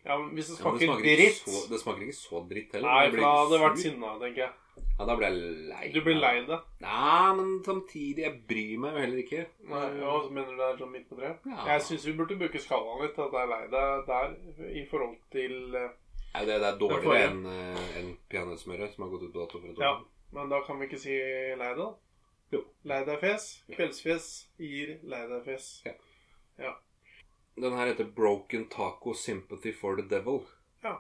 Ja, men hvis
men det
det smaker
smaker ikke
dritt
så, det smaker ikke så dritt heller.
Nei,
Jeg
for
blir
da hadde det
ikke
vært
sur.
sinna, tenker jeg.
Ja, da blir jeg lei.
Du blir
meg.
lei deg.
Nei, men samtidig Jeg bryr meg jo heller ikke.
Nei, ja, så mener du det er sånn midt på treet?
Ja.
Jeg syns vi burde bruke skalaen litt, at jeg er lei deg der i forhold til eh,
Nei, det, det er
Det får
dårligere
jeg.
enn eh, enn peanøttsmøret som har gått ut på dato for et år
Ja.
siden.
Men da kan vi ikke si lei deg? da?
Jo.
Lei deg-fjes. Kveldsfjes gir lei deg-fjes.
Den her heter Broken Taco Sympathy for the Devil.
Ja.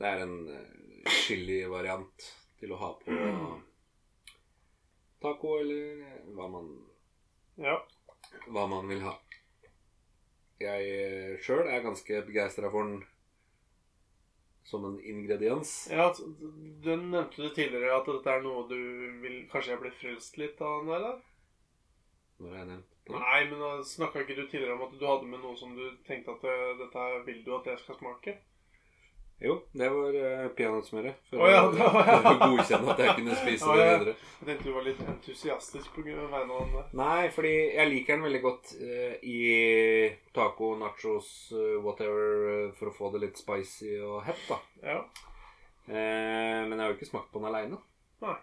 Det er en eh, chili-variant til å ha på taco, eller eh, hva man,
Ja.
hva man vil ha. Jeg eh, sjøl er ganske begeistra for den som en ingrediens.
ja t- du nevnte det tidligere at dette er noe du vil Kanskje jeg ble frelst litt av den der? da?
Når jeg nevnt den.
Nei, men da snakka ikke du tidligere om at du hadde med noe som du tenkte at eh, dette her vil du at jeg skal smake?
Jo, det var uh, peanøttsmøret. For,
Å ja,
å-
det var-
for å godkjenne at jeg kunne spise
Å
det
ja.
videre.
Jeg tenkte du var litt entusiastisk på grunn- vegne av den der.
Nei, fordi jeg liker den veldig godt eh, i taco, nachos, eh, whatever, eh, for å få det litt spicy og hett, da.
Ja.
Eh, men jeg har jo ikke smakt på den aleine.
Nei.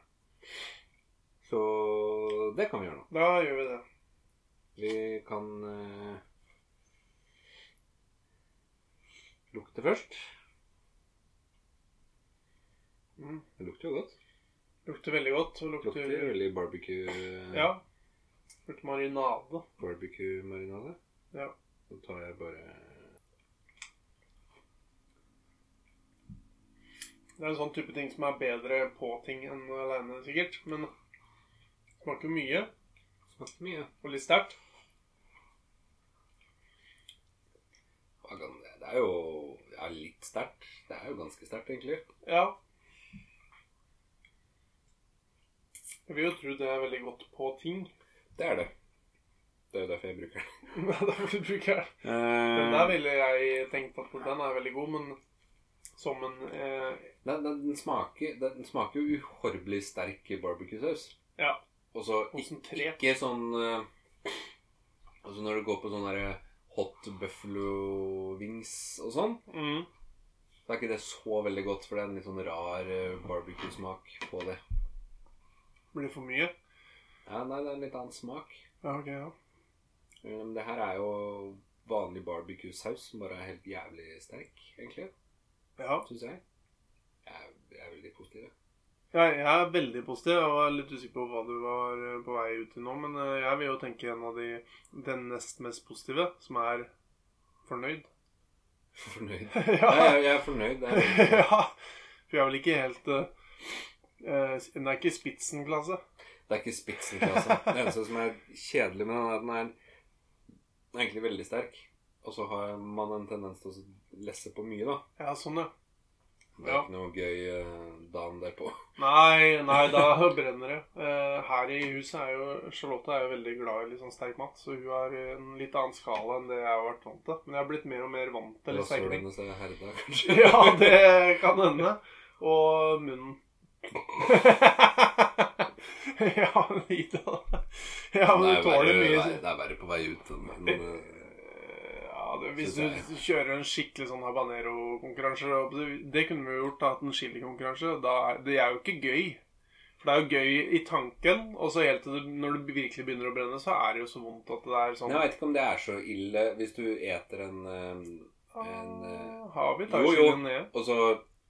Så det kan vi gjøre nå.
Da gjør vi det.
Vi kan eh, lukte først.
Mm.
Det lukter jo godt.
Lukter veldig godt. og Lukter,
Lukter veldig barbecue.
Ja. Lukter marinade.
barbecue-marinade.
Ja.
Så tar jeg bare
Det er en sånn type ting som er bedre på ting enn aleine, sikkert. Men smaker mye
Smakte mye.
og litt sterkt.
Hva kan- Det er jo ja, litt sterkt. Det er jo ganske sterkt, egentlig.
Ja. Jeg vil jo tro det er veldig godt på ting.
Det er det. Det er jo derfor jeg bruker den.
Det er derfor du bruker den. Den der ville jeg tenkt at den er veldig god, men som en eh,
den, den, den, smaker, den den smaker jo uhorvelig sterk i barbecue-saus.
Ja.
Og så
Konsentrert.
ikke sånn eh, Altså når det går på sånn derre hot buffalo wings og sånn,
mm,
så er ikke det så veldig godt, for det er en litt sånn rar eh, barbecue-smak på det.
Blir for mye.
Ja, nei, det er en litt annen smak.
Ja, ok, ja.
Eh, Men det her er jo vanlig barbecue-saus som bare er helt jævlig sterk, egentlig,
ja.
syns jeg. Jeg er, jeg er veldig positiv. jeg.
Ja, jeg er veldig positiv. Jeg var litt usikker på hva du var eh, på vei ut til nå, men eh, jeg vil jo tenke en av de den nest mest positive, som er fornøyd.
Fornøyd.
ja.
Ja, jeg, jeg er fornøyd. Det er
ja. For jeg er vel ikke helt eh, eh, Den er ikke Spitzenklasse.
Det er ikke spitsenklasse. Det eneste som er kjedelig med den, er at den er egentlig veldig sterk. Og så har man en tendens til å lesse på mye, da.
Ja, sånn, ja.
Det er
Ja.
ikke noe gøy eh, dagen derpå.
Nei, nei, da brenner det. Eh, her i huset er jo Charlotte er jo veldig glad i litt sånn sterk mat, så hun har en litt annen skala enn det jeg har vært vant til. Men jeg har blitt mer og mer vant
Da
til litt
står
sterke
det
ting.
hennes det er herda, kanskje.
Ja, det kan hende. Og munnen. ja, men Ida Ja, men
det,
du
er verre,
tåler mye.
det er verre på vei ut enn men, eh,
Ja, det, Hvis du kjører en skikkelig sånn habanero-konkurranse og Det kunne vi jo gjort, da. Hatt en chili-konkurranse. da er- Det er jo ikke gøy. For det er jo gøy i tanken, og så helt til det, når det virkelig begynner å brenne, så er det jo så vondt at det er sånn
Jeg veit ikke om det er så ille hvis du eter en eh, en,
ah,
eh,
Har
jo,
vi
jo.
taxien ned?
Og så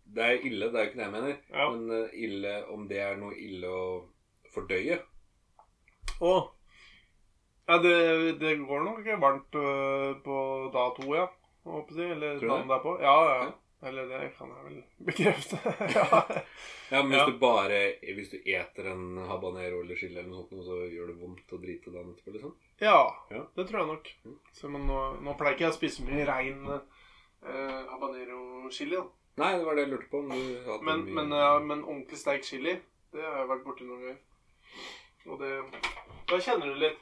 Det er ille, det er jo ikke det jeg mener.
Ja.
Men eh, ille om det er noe ille å fordøye.
Å. Ja, det, det går nok varmt øh, på da to, ja. Håper jeg. Eller
Tror du
dagen
det?
derpå. Ja, ja,
Ja.
ja. Eller det kan jeg vel bekrefte. ja.
Ja, men hvis
Ja.
du bare Hvis du eter en habanero eller chili eller noe sånt, så gjør det vondt å drite dagen etterpå, liksom.
Ja,
Ja. Mm.
det tror jeg nok. Så, men nå, nå pleier ikke jeg å spise mye rein eh, habanero chili. Da.
Nei, det var det jeg lurte på. Om du hadde
Men,
mye-
men, ja, men ordentlig sterk chili, det har jeg vært borti noen ganger. Og det Da kjenner du litt.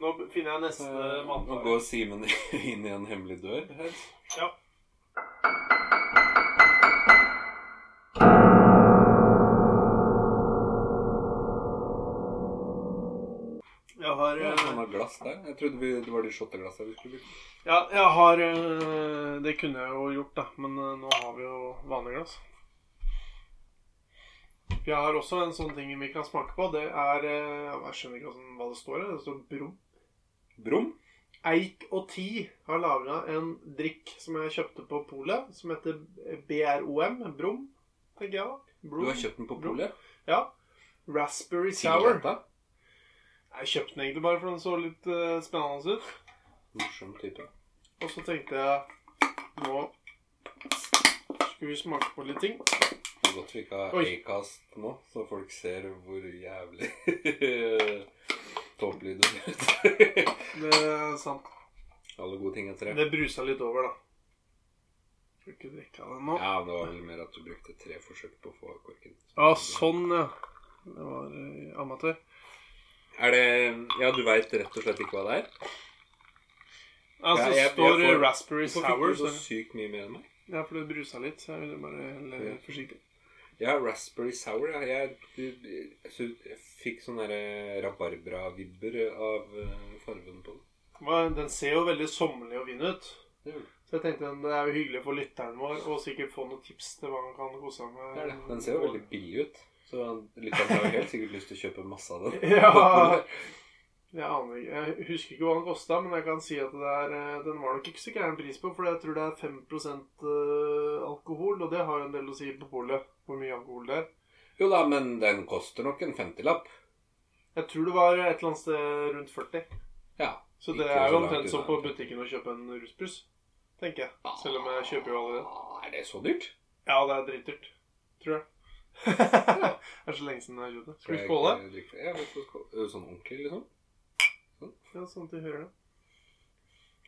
Nå finner jeg neste
Eh, Nå
matvare.
går Simen inn i en hemmelig dør her.
Ja. Jeg har
Ja,
eh,
han har glass der. Jeg trodde vi, det var de shotteglassene vi skulle bruke.
Ja, jeg har øh, Det kunne jeg jo gjort, da. Men øh, nå har vi jo vanlige glass. Jeg har også en sånn ting vi kan smake på. Det er øh, Jeg skjønner ikke hvordan- hva det står her. Det står Brum.
Brum?
Eik og Ti har laga en drikk som jeg kjøpte på polet, som heter BROM. Brum, tenker jeg da.
Du
Brum.
har kjøpt den på polet?
Ja. Raspberry Sour.
Sigretta?
Jeg kjøpte den egentlig bare for den så litt øh, spennende ut.
Morsom type.
Og så tenkte jeg Nå skal vi smake på litt ting.
Det er godt vi ikke har
Oi.
Acast nå, så folk ser hvor jævlig tåpelig du ser ut.
Det er sant.
Alle gode ting etter det.
Det brusa litt over, da. Skal ikke drikke av den nå.
Ja, det var vel mer at du brukte tre forsøk på å få korken.
Ja, sånn, ja. Det var eh, amatør.
Er det Ja, du veit rett og slett ikke hva det er?
Altså,
Ja, jeg- jeg
står eh,
får-
raspberry
Hvorfor
sour.
fikk du
Så,
så sykt mye mer enn meg?
ja, for det brusa litt, så jeg ville bare helle
Ja.
forsiktig.
Ja, raspberry sour. ja. Jeg, jeg, jeg, jeg fikk sånne der rabarbra-vibber av eh, fargen på den.
Hva- Den ser jo veldig sommerlig og fin ut.
Det gjør den.
Så jeg tenkte den- det er jo hyggelig for lytteren vår å sikkert få noen tips til hva han kan kose seg med.
Det er det. Den ser jo veldig billig ut. Så lytteren har jo helt sikkert lyst til å kjøpe masse av den.
Ja. Jeg aner ikke. Jeg husker ikke hva den kosta, men jeg kan si at det er, eh, den var nok ikke så gæren pris på. For jeg tror det er 5 eh, alkohol, og det har jo en del å si på polet. Hvor mye alkohol det er.
Jo da, men den koster nok en 50-lapp.
Jeg tror det var et eller annet sted rundt 40.
Ja.
Så det
Ikke
er jo
så langt
omtrent som
unna.
på butikken å kjøpe en rusbrus, tenker jeg. Selv om jeg kjøper jo allerede.
Ah, Er det så dyrt?
Ja, det er dritdyrt. Tror jeg. det er så lenge siden jeg har kjøpt det. Skal vi skåle?
Jeg drikker- Ja, vi får skåle. Ø, Sånn ordentlig, liksom?
Ja, sånn at de hører det.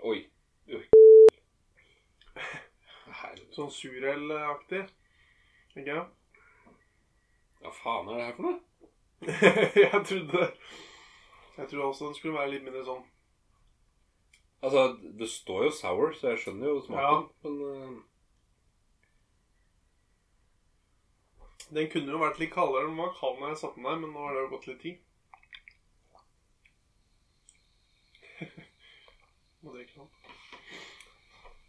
Oi. Øh. Oi. Herre.
Sånn surelaktig. Tenker jeg.
Hva faen er det her for noe?
jeg trodde Jeg trodde også den skulle være litt mindre sånn
Altså, det står jo sour, så jeg skjønner jo smaken. Men øh, ø,
Den kunne jo vært litt kaldere enn den var kald når jeg satte den der, men nå har det jo gått litt tid. Må drikke noe.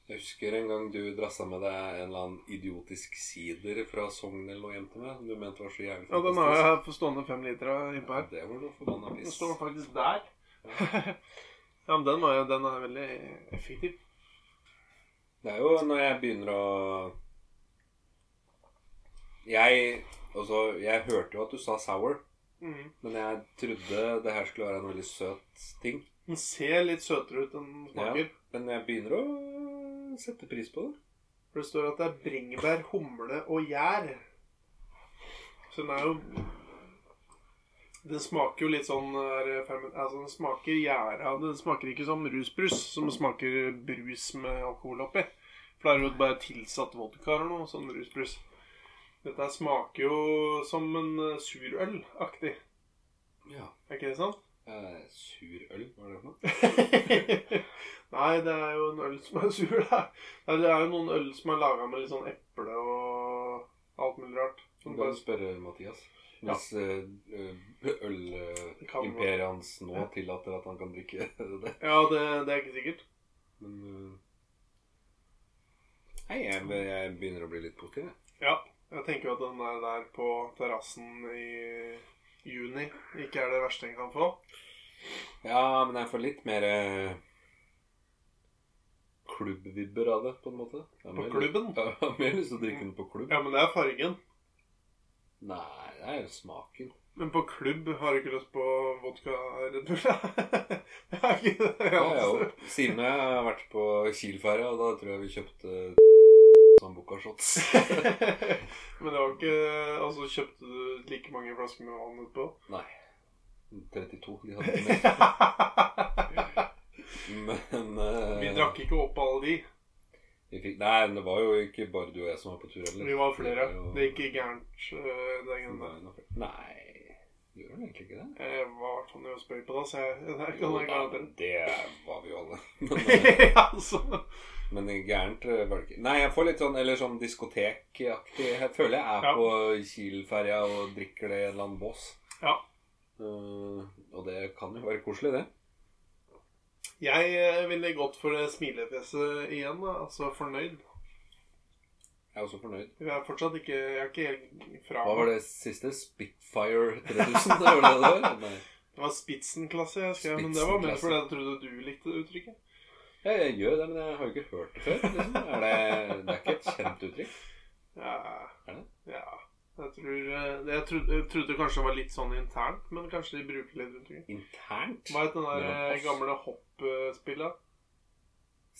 Jeg husker en gang du drassa med deg en eller annen idiotisk sider fra Sogn eller noe hjem til meg. Som du mente var så jævlig
Ja, den har jeg på stående fem liter av innpå her.
Det var noe forbanna
Den
piss.
står faktisk der. ja, men den, var, jo- den er veldig effektiv.
Det er jo når jeg begynner å Jeg Altså, jeg hørte jo at du sa sour,
Mhm.
men jeg trodde det her skulle være en veldig søt ting.
Den ser litt søtere ut enn den
Ja,
smaker.
men jeg begynner å sette pris på det.
For det står at det er bringebær, humle og gjær. Så den er jo Den smaker jo litt sånn er, ferment- Altså, den smaker gjæra Den smaker ikke som rusbrus, som smaker brus med alkohol oppi. For da er det jo bare tilsatt vodka eller noe sånn rusbrus. Dette her smaker jo som en eh, surøl-aktig.
Ja.
Er ikke det sant?
Eh, surøl, hva er det for noe?
Nei, det er jo en øl som er sur, da. Nei, det er jo noen øl som er laga med litt sånn eple og alt mulig rart.
Du
Som
kan
bare
spørre Mathias.
Ja.
Hvis eh, eh,
Det kan være.
ølimperiet hans nå
Ja.
tillater at han kan drikke det.
Ja, det, det er ikke sikkert.
Men eh, Nei, jeg, jeg begynner å bli litt positiv, jeg.
Ja. Jeg tenker jo at den er der på terrassen i juni. Ikke er det verste en kan få.
Ja, men jeg får litt mer eh, klubbvibber av det, på en måte. Jeg har
På
mer-
klubben?
Ja, Jeg har mer lyst til å drikke den på klubb.
Ja, men det er fargen.
Nei, det er jo smaken.
Men på klubb har du ikke lyst på vodka Red Bull? det er ikke det.
Ja, ja,
altså.
jo. Siden jeg har vært på Kiel-ferja, da tror jeg vi kjøpte Sambuca-shots.
Men det var ikke Altså, kjøpte du like mange flasker med vann utpå?
Nei. 32 de hadde med. Men eh,
Vi drakk ikke opp alle de.
vi fikk, Nei, men det var jo ikke bare du og jeg som var på tur heller.
Vi var flere.
Det var jo-
Det gikk gærent, øh, den gangen der.
Nei, gjør den egentlig ikke det?
Jeg var i hvert fall nervøs på hytta, så jeg,
Jo,
jeg kan jeg
da,
garantere.
men det var vi jo alle. eh,
ja, altså.
Men gærent eh, var det ikke. Nei, jeg får litt sånn eller sånn diskotekaktig Jeg føler jeg er
Ja.
på Kiel-ferja og drikker det i en eller annen bås.
Ja.
Eh, og det kan jo være koselig, det.
Jeg øh, ville gått for det smilefjeset igjen, da. Altså fornøyd.
Jeg er også fornøyd.
Jeg er fortsatt ikke Jeg er ikke helt fra
Hva var det siste? Spitfire 3000? Det var det det var? Nei.
Det var Spitzenklasse jeg skrev, men det var mer
Spitzenklasse.
fordi jeg trodde du likte det uttrykket.
Ja, jeg gjør det, men jeg har jo ikke hørt det før. Liksom. Er det, det er ikke et kjent uttrykk.
Ja.
Er det?
ja. Jeg, tror, eh, jeg, trodde, jeg trodde kanskje det var litt sånn internt, men kanskje de bruker litt rundt omkring.
Internt?
Hva het den der
Mellom
eh,
oss.
gamle hoppspillet?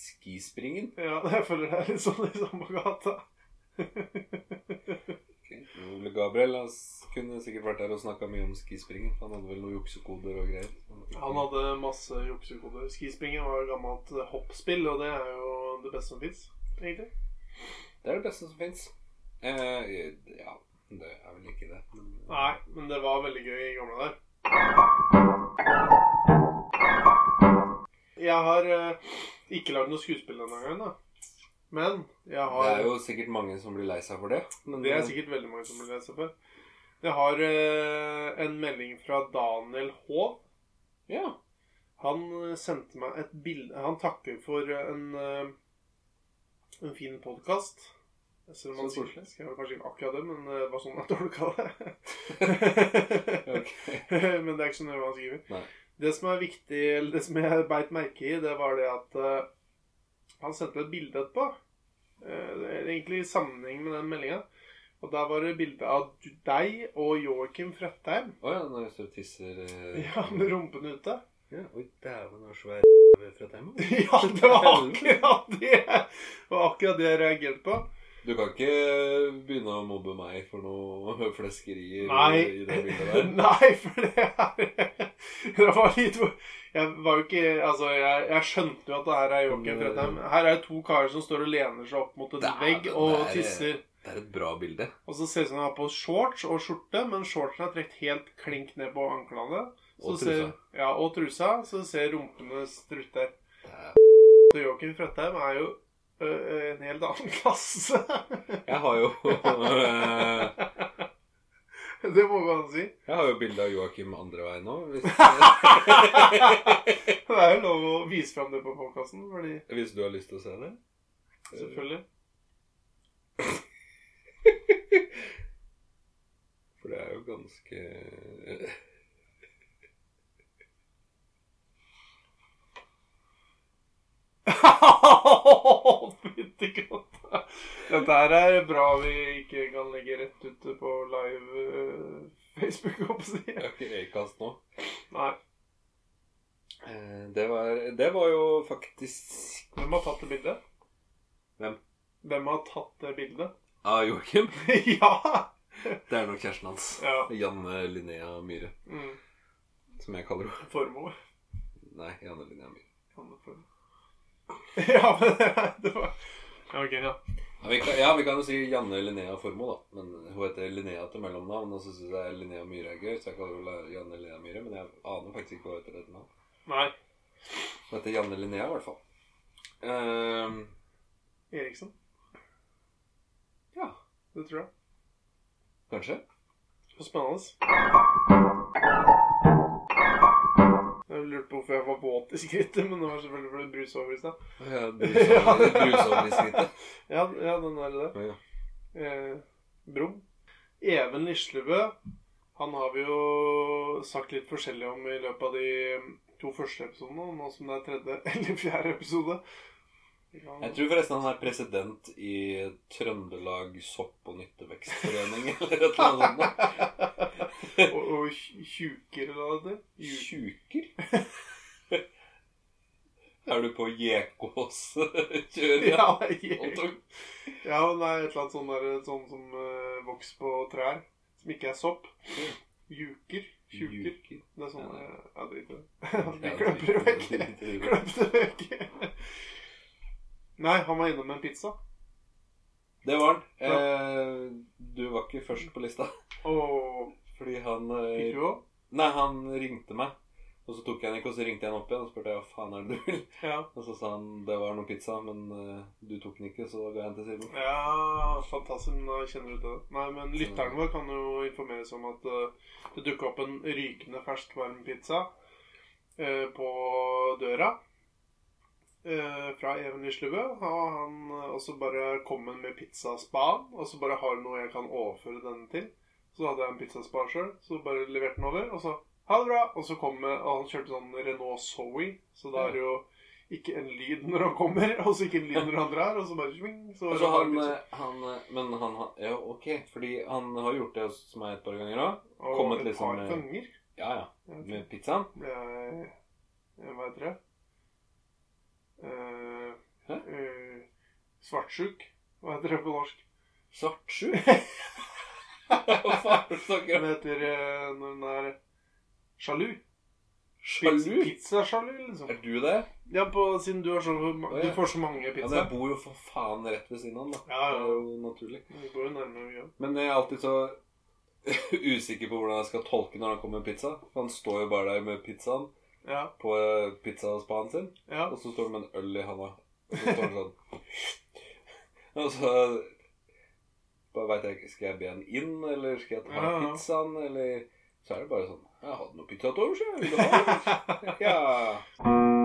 Skispringen?
Ja, jeg føler det er litt sånn i samme gata.
Ok. Ole Gabriel han s- kunne sikkert vært der og snakka mye om skispringen. Han hadde vel noen juksekoder og greier.
Han hadde masse juksekoder. Skispringen var et gammelt eh, hoppspill, og det er jo det beste som fins, egentlig.
Det er det beste som fins. Eh, ja, det er vel ikke det. Men,
Nei, men det var veldig gøy i gamle der. Jeg har eh, ikke lagd noe skuespill denne gangen, da. Men jeg
Det
har
er jo sikkert mange som blir lei seg for det. Men
Det er sikkert veldig mange som vil lese for. Jeg har eh, en melding fra Daniel H.
Ja.
Han eh, sendte meg et bilde Han takker for eh, en, eh, en fin podkast. Selv om han
Så
sier-
koselig.
skrev kanskje ikke akkurat det, men det var sånn jeg tolka det.
Ok.
men det er ikke så nøye hva han skriver.
Nei.
Det som er viktig, eller det som jeg beit merke i, det var det at eh, han sendte et bilde etterpå. Eh, det er egentlig i sammenheng med den meldinga. Og der var det bilde av du- deg og Joakim Frettheim.
Å ja, når jeg står og tisser eh,
Ja, med rumpen ute.
ja. Oi, dæven, så svær r- fra tema.
Ja, det var akkurat det! Det var akkurat det jeg reagerte på.
Du kan ikke begynne å mobbe meg for noe fleskeri
Nei.
i det bildet der.
Nei, for det er Det var litt Jeg var jo ikke Altså, jeg, jeg skjønte jo at det her er
Mm.
Joakim Fredheim. Her er to karer som står og lener seg opp mot en
Dæven,
vegg og
det er-
tisser.
Det er et bra bilde.
Og så ser det ut som han har på shorts og skjorte, men shortsen er trukket helt klink ned på anklene. Så
Og
ser,
trusa.
ja, og trusa. Så ser rumpene strutter.
Dæven.
Så Joakim Fredheim er jo ø, ø, en helt annen klasse.
Jeg har jo eh,
det må man si.
Jeg har jo bilde av Joakim andre veien nå. Hvis,
Det er jo lov å vise fram det på podkasten, fordi
hvis du har lyst til å se det.
Selvfølgelig.
For det er jo ganske
Fytti katta. Dette her er bra vi ikke kan legge rett ut på live eh, Facebook, holdt på å si.
Jeg har ikke Acast nå.
Nei.
Eh, Det var, det var jo faktisk
Hvem har tatt det bildet?
Hvem?
Hvem har tatt det bildet?
av Ah, Joakim.
ja!
Det er nok kjæresten hans.
ja.
Janne Linnea Myhre,
Mm.
som jeg kaller henne.
Formoe.
Nei, Janne Linnea Myhre.
Ja, men det var Ja, ok, ja.
Ja, vi kan, ja, vi kan jo si Janne Linnea Formoe, da. Men hun heter Linnea til mellomnavn. Og så syns jeg Linnea Myhre er gøy, så jeg kaller henne Janne Linnea Myhre. Men jeg aner faktisk ikke hva hun heter etter navn.
Nei.
Hun heter Janne Linnea, i hvert fall. Ehm,
Eriksen.
ja,
Det tror jeg.
kanskje.
Så spennende. Jeg lurte på hvorfor jeg var våt i skrittet, men det var selvfølgelig fordi det brusa over i stad.
Ja, brusover- brusover i skrittet.
Ja, ja, den er det.
Ja.
Eh, Brum. Even Lislebø, han har vi jo sagt litt forskjellig om i løpet av de mm, to første episodene, og nå som det er tredje eller fjerde episode. Ja,
Jeg tror forresten han er president i Trøndelag sopp- og nyttevekstforening, eller et eller annet sånt. noe.
og, og tj- tjuker, eller hva det heter. Ju-
Tjuker? Er du på Jekås-kjøret?
Ja, jeg-
Anton?
Ja, men det er et eller annet sånn, der, sånn som eh, vokser på trær, som ikke er sopp. Juker. Tjuker.
Tjuker.
Det er sånn
Ja.
eh, Ja, drit i det. Vi kløpper det vekk. Kløpte det vekk. Nei, han var innom en pizza.
Det var han. Eh, du var ikke først på lista.
Og
Fordi han eh,
fikk du òg?
Nei, han ringte meg. Og så tok jeg den ikke, og så ringte jeg han opp igjen og spurte jeg, hva faen er det du vil.
Ja.
Og så sa han det var noe pizza, men eh, du tok den ikke, så da går jeg hen til siden.
Ja, fantastisk. men Da kjenner du til det. Nei, men lytteren vår kan jo informeres om at eh, det dukka opp en rykende fersk varm pizza eh, på døra. eh, fra Even Lislebø. Og han eh, og så bare kom han med pizzaspan. Og så bare har du noe jeg kan overføre denne til. Så hadde jeg en pizzaspa sjøl, så bare leverte den over. Og så ha det bra. Og så kom eh, og han kjørte sånn Renault Zoe, så da er det jo ikke en lyd når han kommer, og så ikke en lyd når han drar, og så bare sving, så
Og
var
så
det bare
han,
pizza.
eh, han eh, Men han har Ja, ok. Fordi han har gjort det hos meg et par ganger òg.
Og
kommet
et
liksom
par
med-
ganger
Ja, ja.
ja,
Med pizzaen.
ble jeg jeg- Hva heter det? Eh,
Hæ?
eh, svartsjuk. Hva heter det på norsk?
Svartsjuk? Hva faen er det du snakker
Det
om?
heter eh, når den er sjalu. Pizza-
Sjalu?
Pizzasjalu, liksom.
Er du det?
Ja, på, siden du, har så, ma-
Å, ja.
du får så mange
Ja, men jeg
pizzaer.
bor jo for faen rett ved siden av den, da.
Ja,
Det
ja.
er jo naturlig.
Vi går jo nærmere mye.
Men jeg er alltid så usikker på hvordan jeg skal tolke når han kommer med pizza. Han står jo bare der med pizzaen
Ja,
på eh, pizzaspaden sin,
ja.
og så står han med en øl i handa. Og så står han sånn Og så bare veit jeg ikke Skal jeg be han inn, eller skal jeg ta
Ja, ja.
pizzaen, eller Så er det bare sånn Jeg hadde noe pizza til overs, jeg. Vil du ha det? Ja.